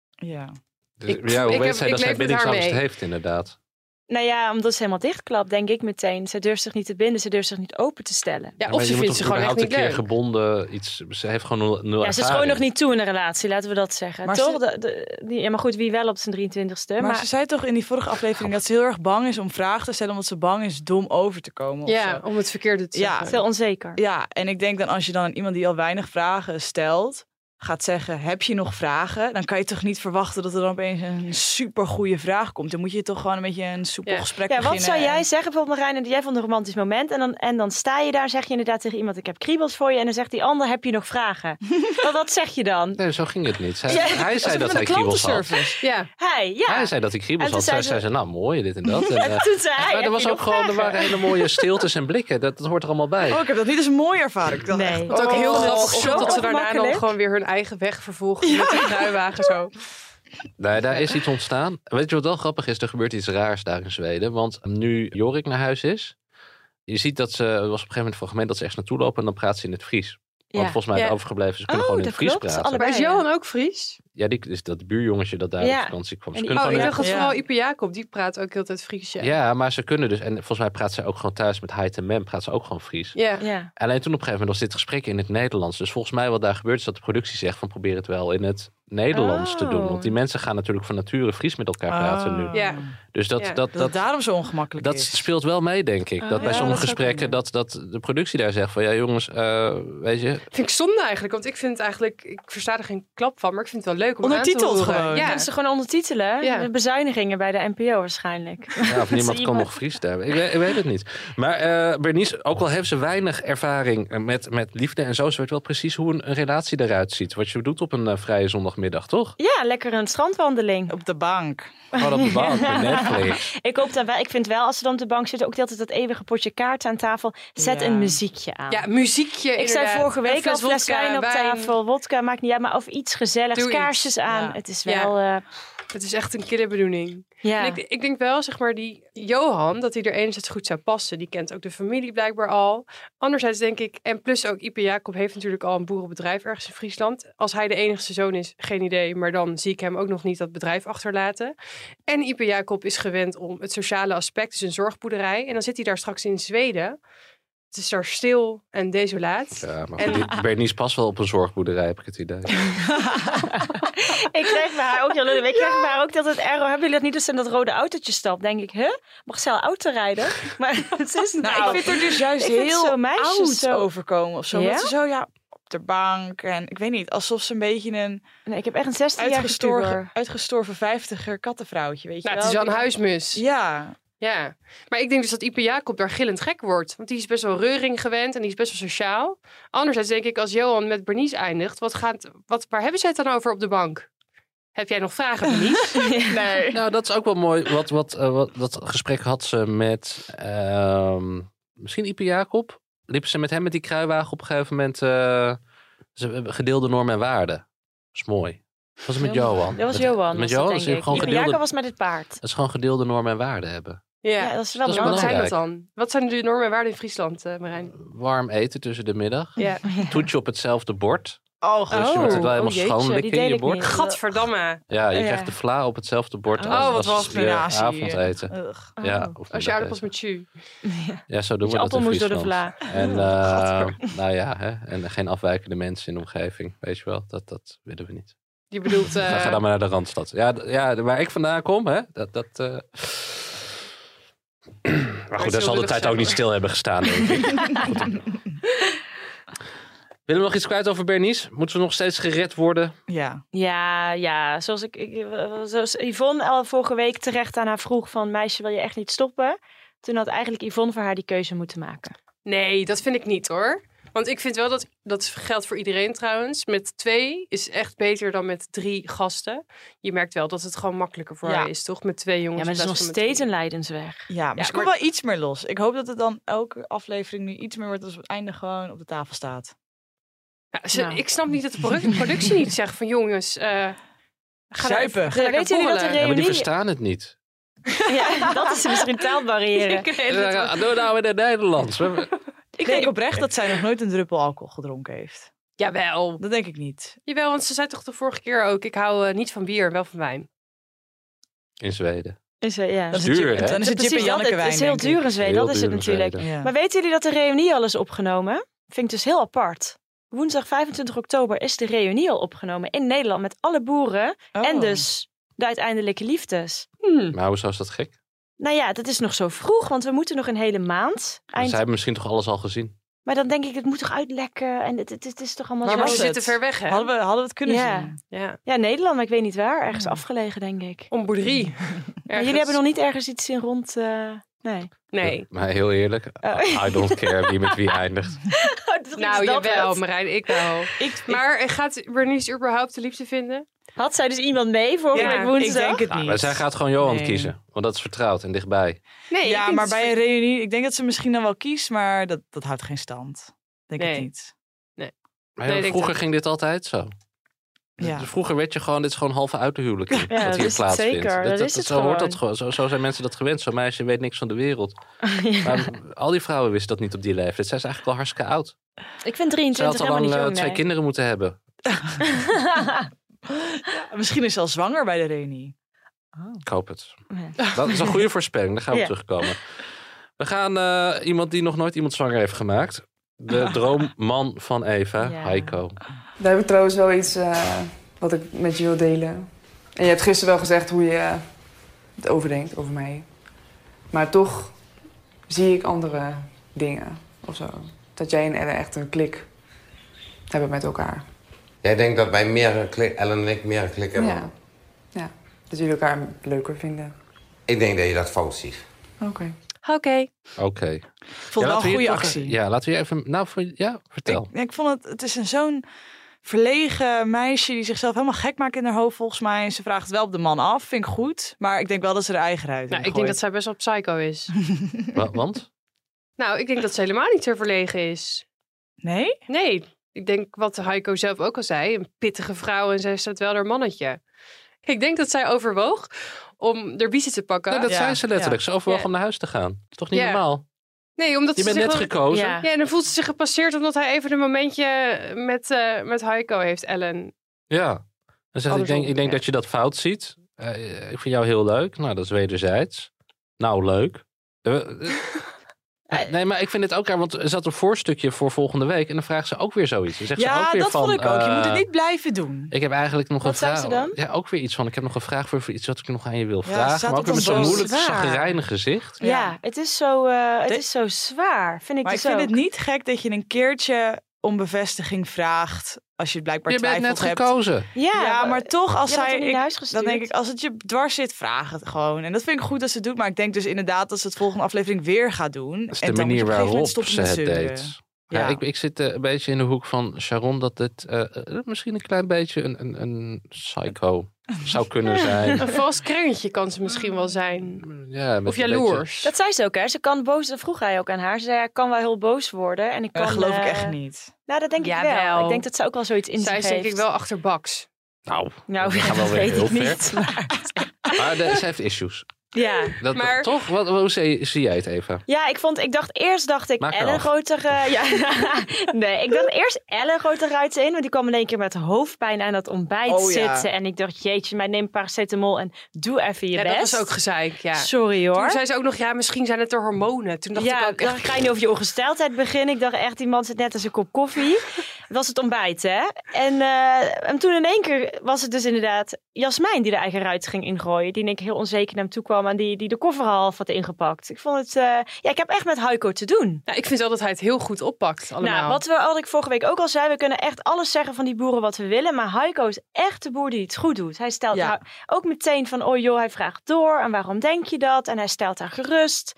Speaker 4: Ja.
Speaker 7: Dus, ja, hoe
Speaker 8: ik heb-
Speaker 7: weet zij
Speaker 8: ik
Speaker 7: dat zij
Speaker 8: leef met haar
Speaker 7: bindingsangst
Speaker 8: mee.
Speaker 7: heeft inderdaad?
Speaker 3: Nou ja, omdat ze helemaal dichtklapt, denk ik meteen. Ze durft zich niet te binden, ze durft zich niet open te stellen.
Speaker 8: Ja,
Speaker 7: Maar je moet toch überhaupt een keer gebonden iets... Ze heeft gewoon nul, nul
Speaker 3: Ja, ze is
Speaker 7: ervaring.
Speaker 3: gewoon nog niet toe in een relatie, laten we dat zeggen.
Speaker 4: Maar
Speaker 3: Toch?
Speaker 4: ze-
Speaker 3: De- de- die- ja, maar goed, wie wel op zijn 23ste.
Speaker 4: Maar, ze zei toch in die vorige aflevering dat ze heel erg bang is om vragen te stellen, omdat ze bang is dom over te komen. of
Speaker 8: Ja,
Speaker 4: zo.
Speaker 8: om het verkeerde te
Speaker 4: Ja.
Speaker 8: zeggen.
Speaker 4: Veel
Speaker 3: onzeker.
Speaker 4: Ja, en ik denk dan als je dan aan iemand die al weinig vragen stelt, gaat zeggen: Heb je nog vragen? Dan kan je toch niet verwachten dat er dan opeens een supergoeie vraag komt. Dan moet je toch gewoon een beetje een soepel gesprek
Speaker 3: Ja, wat
Speaker 4: beginnen.
Speaker 8: eh,
Speaker 3: zou jij
Speaker 4: en-
Speaker 3: zeggen bijvoorbeeld Marijn, dat jij vond een romantisch moment en dan, en dan sta je daar, zeg je inderdaad tegen iemand, ik heb kriebels voor je en dan zegt die ander, heb je nog vragen? wat, wat zeg je dan?
Speaker 7: Nee, zo ging het niet. Zij-
Speaker 3: Ja,
Speaker 7: hij zei dat hij kriebels had.
Speaker 8: Ja.
Speaker 3: Hij, ja.
Speaker 7: Hij zei dat hij kriebels
Speaker 3: En toen
Speaker 7: had. Zij
Speaker 3: zei
Speaker 7: zei ze, nou mooi, dit en dat. En,
Speaker 3: En
Speaker 7: eh,
Speaker 3: toen zei hij,
Speaker 7: maar
Speaker 3: heb
Speaker 7: er, was
Speaker 3: je
Speaker 7: ook
Speaker 3: nog
Speaker 7: gewoon, er
Speaker 3: vragen?
Speaker 7: waren hele mooie stiltes en blikken. Dat, dat hoort er allemaal bij.
Speaker 4: Oh, ik heb dat niet eens mooi ervaren. Ik dacht echt
Speaker 8: Wat ook
Speaker 4: oh,
Speaker 8: heel
Speaker 4: dit is
Speaker 8: grappig is
Speaker 4: zo
Speaker 8: dat ze daarna dan
Speaker 4: ongemakkelijk.
Speaker 8: gewoon weer hun eigen weg vervolgen met die kruiwagen zo.
Speaker 7: Nee, daar is iets ontstaan. Weet je wat wel grappig is? Er gebeurt iets raars daar in Zweden. Want nu Jorik naar huis is, je ziet dat ze, er was op een gegeven moment een fragment dat ze echt naartoe lopen en dan praat ze in het Fries. Want
Speaker 8: Ja.
Speaker 7: volgens mij het
Speaker 8: Ja.
Speaker 7: overgebleven, ze kunnen gewoon in het Fries praten.
Speaker 8: Maar is Johan ook Fries?
Speaker 7: Ja, die, dus dat buurjongetje dat daar op vakantie kwam. Ze
Speaker 8: En die-
Speaker 7: kunnen
Speaker 8: oh, ik
Speaker 7: gewoon
Speaker 8: dacht dat
Speaker 7: in-
Speaker 8: vooral Ipe Jacob, die praat ook heel tijd Fries. Ja.
Speaker 7: ja. maar ze kunnen dus. En volgens mij praat zij ook gewoon thuis met Heid en Mem, praat ze ook gewoon Fries.
Speaker 8: Ja.
Speaker 7: Alleen toen op een gegeven moment was dit gesprek in het Nederlands. Dus volgens mij wat daar gebeurt is dat de productie zegt van probeer het wel in het Nederlands te doen.
Speaker 4: Oh.
Speaker 7: Want die mensen gaan natuurlijk van nature Fries met elkaar praten nu.
Speaker 4: Ja.
Speaker 7: Dus dat,
Speaker 4: Ja.
Speaker 7: dat,
Speaker 4: Dat het
Speaker 7: dat,
Speaker 4: daarom zo ongemakkelijk
Speaker 7: dat
Speaker 4: is.
Speaker 7: speelt wel mee, denk ik.
Speaker 4: Ah,
Speaker 7: dat bij
Speaker 4: ja,
Speaker 7: sommige
Speaker 4: dat zou
Speaker 7: gesprekken dat, dat de productie daar zegt van ja jongens, eh, weet je,
Speaker 8: Vind ik zonde eigenlijk, want ik vind het eigenlijk, ik versta er geen klap van, maar ik vind het wel leuk om aan
Speaker 3: Ondertiteld
Speaker 8: te horen.
Speaker 3: gewoon.
Speaker 8: Ja,
Speaker 3: Kunnen ze gewoon ondertitelen?
Speaker 8: Ja.
Speaker 3: De bezuinigingen bij de NPO waarschijnlijk.
Speaker 7: Ja, of niemand
Speaker 3: Zie
Speaker 7: kan
Speaker 3: je
Speaker 7: nog Fries daar. Ik, weet- ik weet het niet. Maar eh Bernice, ook al heeft ze weinig ervaring met, met liefde en zo, ze weet wel precies hoe een, een relatie eruit ziet. Wat je doet op een eh, vrije zondagmiddag, toch? Oh,
Speaker 3: Ja, lekker een strandwandeling.
Speaker 4: Op de bank.
Speaker 7: Gewoon op de bank met Netflix.
Speaker 3: ik, hoop dan wel, ik vind wel, als ze dan op de bank zitten, ook altijd dat eeuwige potje kaart aan tafel. Zet
Speaker 8: Ja.
Speaker 3: een muziekje aan.
Speaker 8: Ja, muziekje
Speaker 3: Ik
Speaker 8: inderdaad.
Speaker 3: zei vorige
Speaker 8: Een
Speaker 3: week al
Speaker 8: fles
Speaker 3: fles
Speaker 8: wodka,
Speaker 3: wijn op
Speaker 8: wijn.
Speaker 3: tafel. Wodka, maakt niet uit, maar of iets gezelligs.
Speaker 8: Doe iets.
Speaker 3: kaarsjes aan. Het is
Speaker 8: Ja.
Speaker 3: wel... eh,
Speaker 8: Het is echt een kille bedoeling.
Speaker 3: Ja.
Speaker 8: En ik, ik denk wel, zeg maar, die Johan, dat hij er enerzijds goed zou passen. Die kent ook de familie blijkbaar al. Anderzijds denk ik, en plus ook Ipe Jacob heeft natuurlijk al een boerenbedrijf ergens in Friesland. Als hij de enigste zoon is, geen idee. Maar dan zie ik hem ook nog niet dat bedrijf achterlaten. En Ipe Jacob is gewend om het sociale aspect, dus een zorgboerderij. En dan zit hij daar straks in Zweden. Het is daar stil en desolaat.
Speaker 7: Ja, maar
Speaker 8: En-
Speaker 7: goed, die Bernice past wel op een zorgboerderij, heb ik het idee.
Speaker 3: Ik kreeg bij haar ook, ja, Lulu, ik kreeg bij haar ook dat het error. Hebben jullie dat niet als ze in dat rode autootje stapt? Denk ik, hè? Mag ze al auto rijden? Maar het is niet.
Speaker 4: Nou, ik vind er dus juist heel oud overkomen of zo.
Speaker 3: Ja?
Speaker 4: Dat ze zo, ja, op de bank en ik weet niet, alsof ze een beetje een...
Speaker 3: Nee, ik heb echt een 16-jarige puber.
Speaker 4: uitgestorven, uitgestorven vijftiger kattenvrouwtje, weet je
Speaker 8: Nou,
Speaker 4: wel.
Speaker 8: het is wel een
Speaker 4: Die-
Speaker 8: huismus.
Speaker 4: Ja.
Speaker 8: Ja, maar ik denk dus dat Ipe Jacob daar gillend gek wordt. Want die is best wel reuring gewend en die is best wel sociaal. Anderzijds denk ik, als Johan met Bernice eindigt, wat gaat, wat, waar hebben zij het dan over op de bank? Heb jij nog vragen, Denise? nee.
Speaker 7: Nou, dat is ook wel mooi. Wat, wat, eh, wat, dat gesprek had ze met ehm, misschien Ipe Jacob. Liep ze met hem met die kruiwagen op een gegeven moment eh, ze- gedeelde normen en waarden. Dat is mooi. Was het met Johan?
Speaker 3: Dat was
Speaker 7: Met-
Speaker 3: Johan.
Speaker 7: Met
Speaker 3: was
Speaker 7: Johan
Speaker 3: dat,
Speaker 7: is
Speaker 3: denk ik.
Speaker 7: gewoon
Speaker 3: Ipe
Speaker 7: gedeelde,
Speaker 3: Jacob was met het paard.
Speaker 7: dat is gewoon gedeelde normen en waarden hebben.
Speaker 8: Ja,
Speaker 3: Ja, dat is wel
Speaker 8: En wat zijn
Speaker 7: belangrijk.
Speaker 8: dat dan? Wat zijn de normen en waarden in Friesland, eh, Marijn?
Speaker 7: Warm eten tussen de middag.
Speaker 8: Ja.
Speaker 7: Toetje op hetzelfde bord.
Speaker 8: Oh,
Speaker 7: Dus je moet het wel helemaal schoon likken in je bord.
Speaker 8: Gadverdamme.
Speaker 7: Ja, je krijgt de vla op hetzelfd bord
Speaker 8: Oh,
Speaker 7: als,
Speaker 8: wat
Speaker 7: als
Speaker 8: was
Speaker 7: je
Speaker 8: spinazie.
Speaker 7: avondeten.
Speaker 8: Ugh.
Speaker 7: Ja,
Speaker 8: Oh.
Speaker 7: of
Speaker 8: Als je aardappels
Speaker 7: middageten.
Speaker 8: met jus.
Speaker 7: Ja,
Speaker 8: Met je
Speaker 7: zo doen we dat in
Speaker 8: appelmoes door de
Speaker 7: Friesland.
Speaker 8: vla.
Speaker 7: En
Speaker 8: Gadver.
Speaker 7: eh, nou ja, hè, en geen afwijkende mensen in de omgeving. Weet je wel, dat, dat willen we niet.
Speaker 8: Je bedoelt...
Speaker 7: Ga,
Speaker 8: eh,
Speaker 7: ga dan maar naar de Randstad. Ja, d- ja waar ik vandaan kom, hè, dat... dat eh, Maar goed, daar zal de
Speaker 8: wilde
Speaker 7: tijd ook niet stil hebben gestaan, denk ik. Willen we nog iets kwijt over Bernice? Moeten we nog steeds gered worden?
Speaker 4: Ja.
Speaker 3: Ja, ja. Zoals, ik, ik- zoals Yvonne al vorige week terecht aan haar vroeg van... meisje, wil je echt niet stoppen? Toen had eigenlijk Yvonne voor haar die keuze moeten maken.
Speaker 8: Nee, dat vind ik niet hoor. Want ik vind wel dat, dat geldt voor iedereen trouwens. Met twee is echt beter dan met drie gasten. Je merkt wel dat het gewoon makkelijker voor
Speaker 3: Ja.
Speaker 8: haar is, toch? Met twee jongens.
Speaker 3: Ja, maar het is nog steeds een leidensweg.
Speaker 4: Ja, maar
Speaker 8: Ja,
Speaker 4: ze komt
Speaker 8: maar-
Speaker 4: wel iets meer los. Ik hoop dat het dan elke aflevering nu iets meer wordt als het einde gewoon op de tafel staat. Nou.
Speaker 8: Ik snap niet dat de produ- productie niet zegt van jongens, eh ga daar
Speaker 4: Zuipen.
Speaker 8: even- ga lekker
Speaker 3: Weet jullie dat de
Speaker 8: borrelen.
Speaker 7: Ja, maar die
Speaker 3: Reunie-
Speaker 7: verstaan het niet.
Speaker 3: Ja, dat is misschien taalbarrière.
Speaker 8: Ik weet het wel.
Speaker 7: Ja, Doe nou in het Nederlands. We-
Speaker 4: Ik denk oprecht dat zij nog nooit een druppel alcohol gedronken heeft.
Speaker 8: Jawel.
Speaker 4: Dat denk ik niet.
Speaker 8: Jawel, want ze zei toch de vorige keer ook, ik hou eh, niet van bier, wel van wijn.
Speaker 7: In Zweden.
Speaker 3: Is, eh, ja.
Speaker 7: Dat is
Speaker 4: het
Speaker 7: duur,
Speaker 4: Jip-
Speaker 7: hè?
Speaker 4: Dan is het Jip en
Speaker 3: Precies, dat,
Speaker 4: Janneke wijn,
Speaker 3: Het is heel
Speaker 4: denk ik.
Speaker 3: duur in Zweden,
Speaker 7: Heel
Speaker 3: dat is het
Speaker 7: duur in
Speaker 3: natuurlijk.
Speaker 7: Zweden.
Speaker 4: Ja.
Speaker 3: Maar weten jullie dat de reunie al is opgenomen? Vind ik dus heel apart. Woensdag 25 oktober is de reunie al opgenomen in Nederland met alle boeren.
Speaker 4: Oh.
Speaker 3: En dus de uiteindelijke liefdes.
Speaker 7: Maar hoezo is dat gek?
Speaker 3: Nou ja, dat is nog zo vroeg, want we moeten nog een hele maand.
Speaker 7: Zij
Speaker 3: Eind...
Speaker 7: hebben misschien toch alles al gezien?
Speaker 3: Maar dan denk ik, het moet toch uitlekken en het, het, het is toch allemaal
Speaker 8: Maar
Speaker 3: zo...
Speaker 8: we zitten ver weg, hè?
Speaker 4: Hadden we, hadden we het kunnen
Speaker 3: Ja.
Speaker 4: zien?
Speaker 8: Ja.
Speaker 3: Ja, Nederland, maar ik weet niet waar. Ergens
Speaker 4: Hmm.
Speaker 3: afgelegen, denk ik.
Speaker 8: Om boerderie.
Speaker 3: Maar
Speaker 8: Ergens.
Speaker 3: jullie hebben nog niet ergens iets in rond... eh, Nee.
Speaker 8: Oh,
Speaker 3: Oh.
Speaker 8: Nee.
Speaker 7: Maar heel eerlijk, I don't care wie met wie eindigt.
Speaker 8: Nou, jawel,
Speaker 3: wel.
Speaker 8: Marijn, ik wel. maar gaat Bernice überhaupt de liefde vinden?
Speaker 3: Had zij dus iemand mee vorige
Speaker 8: Ja,
Speaker 3: week
Speaker 4: Ik
Speaker 3: woensdag?
Speaker 4: denk het
Speaker 7: Nou,
Speaker 4: niet.
Speaker 7: maar zij gaat gewoon Johan
Speaker 4: Nee.
Speaker 7: kiezen, want dat is vertrouwd en dichtbij.
Speaker 8: Nee, ik
Speaker 4: ja,
Speaker 8: denk
Speaker 4: maar
Speaker 8: dat
Speaker 4: bij
Speaker 8: ze-
Speaker 4: een reunie, ik denk dat ze misschien dan wel kiest, maar dat, dat houdt geen stand. Denk
Speaker 8: Nee.
Speaker 4: ik niet.
Speaker 7: Maar
Speaker 8: Nee, ik denk
Speaker 7: vroeger
Speaker 8: dat-
Speaker 7: ging dit altijd zo.
Speaker 4: Ja.
Speaker 7: Dus vroeger werd je gewoon, dit is gewoon halve uit de huwelijk wat
Speaker 3: dat is
Speaker 7: hier
Speaker 3: het
Speaker 7: plaatsvindt.
Speaker 3: zeker, dat is het
Speaker 7: zo hoort dat
Speaker 3: gewoon.
Speaker 7: gewoon. Zo, zo zijn mensen dat gewend. Zo'n meisje weet niks van de wereld.
Speaker 3: Oh,
Speaker 7: Maar al die vrouwen wisten dat niet op die leeftijd. Zij is eigenlijk al hartstikke oud.
Speaker 3: Ik vind
Speaker 7: Zij had
Speaker 3: 23
Speaker 7: al
Speaker 3: helemaal
Speaker 7: lang
Speaker 3: niet
Speaker 7: eh,
Speaker 3: jong.
Speaker 7: twee
Speaker 3: nee.
Speaker 7: kinderen moeten hebben.
Speaker 4: Misschien is ze al zwanger bij de reunie.
Speaker 7: Ik hoop het.
Speaker 3: Ja.
Speaker 7: Dat is een goede voorspelling. Daar gaan we
Speaker 3: Ja.
Speaker 7: op terugkomen. We gaan eh, iemand die nog nooit iemand zwanger heeft gemaakt. De droomman van Eva,
Speaker 3: Ja.
Speaker 7: Heiko.
Speaker 11: Daar heb ik trouwens wel iets eh, wat ik met je wil delen. En je hebt gisteren wel gezegd hoe je het overdenkt over mij. Maar toch zie ik andere dingen of zo. Dat jij en Ellen echt een klik hebben met elkaar.
Speaker 13: Jij denkt dat wij meer een klik, Ellen en ik meer een klik hebben?
Speaker 11: Ja. ja. Dat jullie elkaar leuker vinden.
Speaker 13: Ik denk dat je dat fout ziet.
Speaker 11: Oké.
Speaker 8: Oké.
Speaker 7: Oké.
Speaker 4: vond het
Speaker 7: Ja, laten
Speaker 4: wel een
Speaker 7: we
Speaker 4: goede
Speaker 7: je-
Speaker 4: actie.
Speaker 7: Ja, laten we je even... Nou, voor- ja, vertel.
Speaker 4: Ik, ik vond het, het is een zo'n verlegen meisje die zichzelf helemaal gek maakt in haar hoofd volgens mij. En ze vraagt het wel op de man af, vind ik goed. Maar ik denk wel dat ze haar eigen uit
Speaker 8: Nou, ik denk dat zij best wel psycho is.
Speaker 7: Wa- Want?
Speaker 8: nou, ik denk dat ze helemaal niet zo verlegen is.
Speaker 4: Nee?
Speaker 8: Nee, ik denk wat Heiko zelf ook al zei, een pittige vrouw en zij staat wel haar mannetje. Ik denk dat zij overwoog om haar biezen te pakken.
Speaker 7: Nee, dat
Speaker 4: Ja,
Speaker 7: zei ze letterlijk. Ze overwoog
Speaker 8: Ja.
Speaker 7: om naar huis te gaan. Toch niet
Speaker 8: Ja.
Speaker 7: normaal?
Speaker 8: Nee, omdat
Speaker 7: Je
Speaker 8: ze
Speaker 7: bent
Speaker 8: zich
Speaker 7: net
Speaker 8: wel-
Speaker 7: gekozen.
Speaker 3: Ja.
Speaker 8: Ja, en dan voelt ze zich gepasseerd omdat hij even een momentje met, eh, met Heiko heeft, Ellen.
Speaker 7: Ja. Dan zegt, ik
Speaker 8: Andersom,
Speaker 7: denk, ik denk
Speaker 8: ja.
Speaker 7: dat je dat fout ziet. Eh, ik vind jou heel leuk. Nou, dat is wederzijds. Nou, leuk. Eh, eh, eh, nee, maar ik vind het ook raar, want er zat een voorstukje voor volgende week. En dan vraagt ze ook weer zoiets. Dan zegt ze ook
Speaker 4: Ja,
Speaker 7: weer
Speaker 4: dat
Speaker 7: van,
Speaker 4: vond ik ook. Je moet het
Speaker 7: eh,
Speaker 4: niet blijven doen.
Speaker 7: Ik heb eigenlijk nog
Speaker 3: Wat
Speaker 7: een vraag.
Speaker 3: zei ze dan?
Speaker 7: Ja, ook weer iets van. Ik heb nog een vraag voor, voor iets wat ik nog aan je wil
Speaker 4: Ja,
Speaker 7: vragen.
Speaker 4: staat
Speaker 7: Maar ook
Speaker 4: op
Speaker 7: weer met
Speaker 4: een
Speaker 7: zo'n
Speaker 4: doos.
Speaker 7: moeilijk,
Speaker 4: Zwaar.
Speaker 7: chagrijnig gezicht.
Speaker 3: Ja, het, is zo, eh, het
Speaker 4: Dit-
Speaker 3: is zo zwaar, vind ik
Speaker 4: Maar ik
Speaker 3: dus
Speaker 4: vind
Speaker 3: ook.
Speaker 4: het niet gek dat je een keertje om bevestiging vraagt als je blijkbaar
Speaker 7: Je bent
Speaker 4: twijfelt
Speaker 7: net
Speaker 4: hebt.
Speaker 7: gekozen.
Speaker 3: Ja,
Speaker 4: Ja, maar toch, als
Speaker 3: je hebt
Speaker 4: zij.
Speaker 3: hem niet
Speaker 4: ik-
Speaker 3: naar huis gestuurd.
Speaker 4: Dan denk ik, als het je dwars zit, vraag het gewoon. En dat vind ik goed dat ze het doet. Maar ik denk dus inderdaad dat ze het volgende aflevering weer gaat doen.
Speaker 7: Dat is
Speaker 4: en
Speaker 7: de
Speaker 4: dan moet je
Speaker 7: manier
Speaker 4: op een gegeven
Speaker 7: waarop
Speaker 4: moment stoppen
Speaker 7: ze
Speaker 4: met
Speaker 7: het
Speaker 4: zeuren.
Speaker 7: deed. Ja.
Speaker 4: Ja.
Speaker 7: ik, ik zit eh, een beetje in de hoek van Sharon dat dit eh, eh, misschien een klein beetje een, een, een psycho zou kunnen zijn.
Speaker 8: Een vals krengetje kan ze misschien wel zijn.
Speaker 7: Ja, met
Speaker 8: Of
Speaker 7: een
Speaker 8: jaloers.
Speaker 7: beetje-
Speaker 3: Dat zei ze ook, hè? Ze kan boos, dat vroeg hij ook aan haar. Ze zei, ja, ik kan wel heel boos worden. En ik kan,
Speaker 4: Dat geloof ik
Speaker 3: eh,
Speaker 4: echt niet.
Speaker 3: Nou, dat denk ik wel.
Speaker 8: Jawel.
Speaker 3: Ik denk dat ze ook wel zoiets in
Speaker 8: Zij
Speaker 3: zich
Speaker 8: is denk ik
Speaker 3: heeft.
Speaker 8: wel achterbaks.
Speaker 7: Nou,
Speaker 3: Nou,
Speaker 7: we gaan
Speaker 3: dat
Speaker 7: wel weer
Speaker 3: weet
Speaker 7: heel
Speaker 3: ik
Speaker 7: ver.
Speaker 3: niet. maar-
Speaker 7: Maar de- ze heeft issues.
Speaker 3: ja.
Speaker 7: Dat,
Speaker 3: Maar-
Speaker 7: Toch? Wat, hoe zie, zie jij het, Eva?
Speaker 3: Ja, ik vond, ik dacht eerst dacht ik
Speaker 7: Maak er
Speaker 3: Ellen
Speaker 7: acht.
Speaker 3: groter. ja, nee, ik dacht eerst Ellen groter eruit in, want die kwam in één keer met hoofdpijn aan dat ontbijt
Speaker 8: Oh, ja.
Speaker 3: zitten en ik dacht jeetje, maar neem paracetamol en doe even je
Speaker 8: Ja,
Speaker 3: best.
Speaker 8: dat was ook gezeik, ja.
Speaker 3: Sorry hoor.
Speaker 8: Toen zei ze ook nog, ja, misschien zijn het de hormonen. Toen dacht
Speaker 3: ja,
Speaker 8: ik ook
Speaker 3: dan
Speaker 8: echt...
Speaker 3: ga je nu over je ongesteldheid beginnen. Ik dacht echt, die man zit net als een kop koffie. Het was het ontbijt, hè? En, eh, en toen in één keer was het dus inderdaad Jasmijn die de eigen ruit ging ingooien. Die in één keer heel onzeker naar hem toe kwam en die, die de koffer half had ingepakt. Ik vond het... eh, ja, ik heb echt met Heiko te doen.
Speaker 8: Nou, ik vind wel dat hij het heel goed oppakt allemaal.
Speaker 3: Nou, wat, we, wat ik vorige week ook al zei, we kunnen echt alles zeggen van die boeren wat we willen. Maar Heiko is echt de boer die het goed doet. Hij stelt haar ook meteen van, oh joh, hij vraagt door. En waarom denk je dat? En hij stelt haar gerust.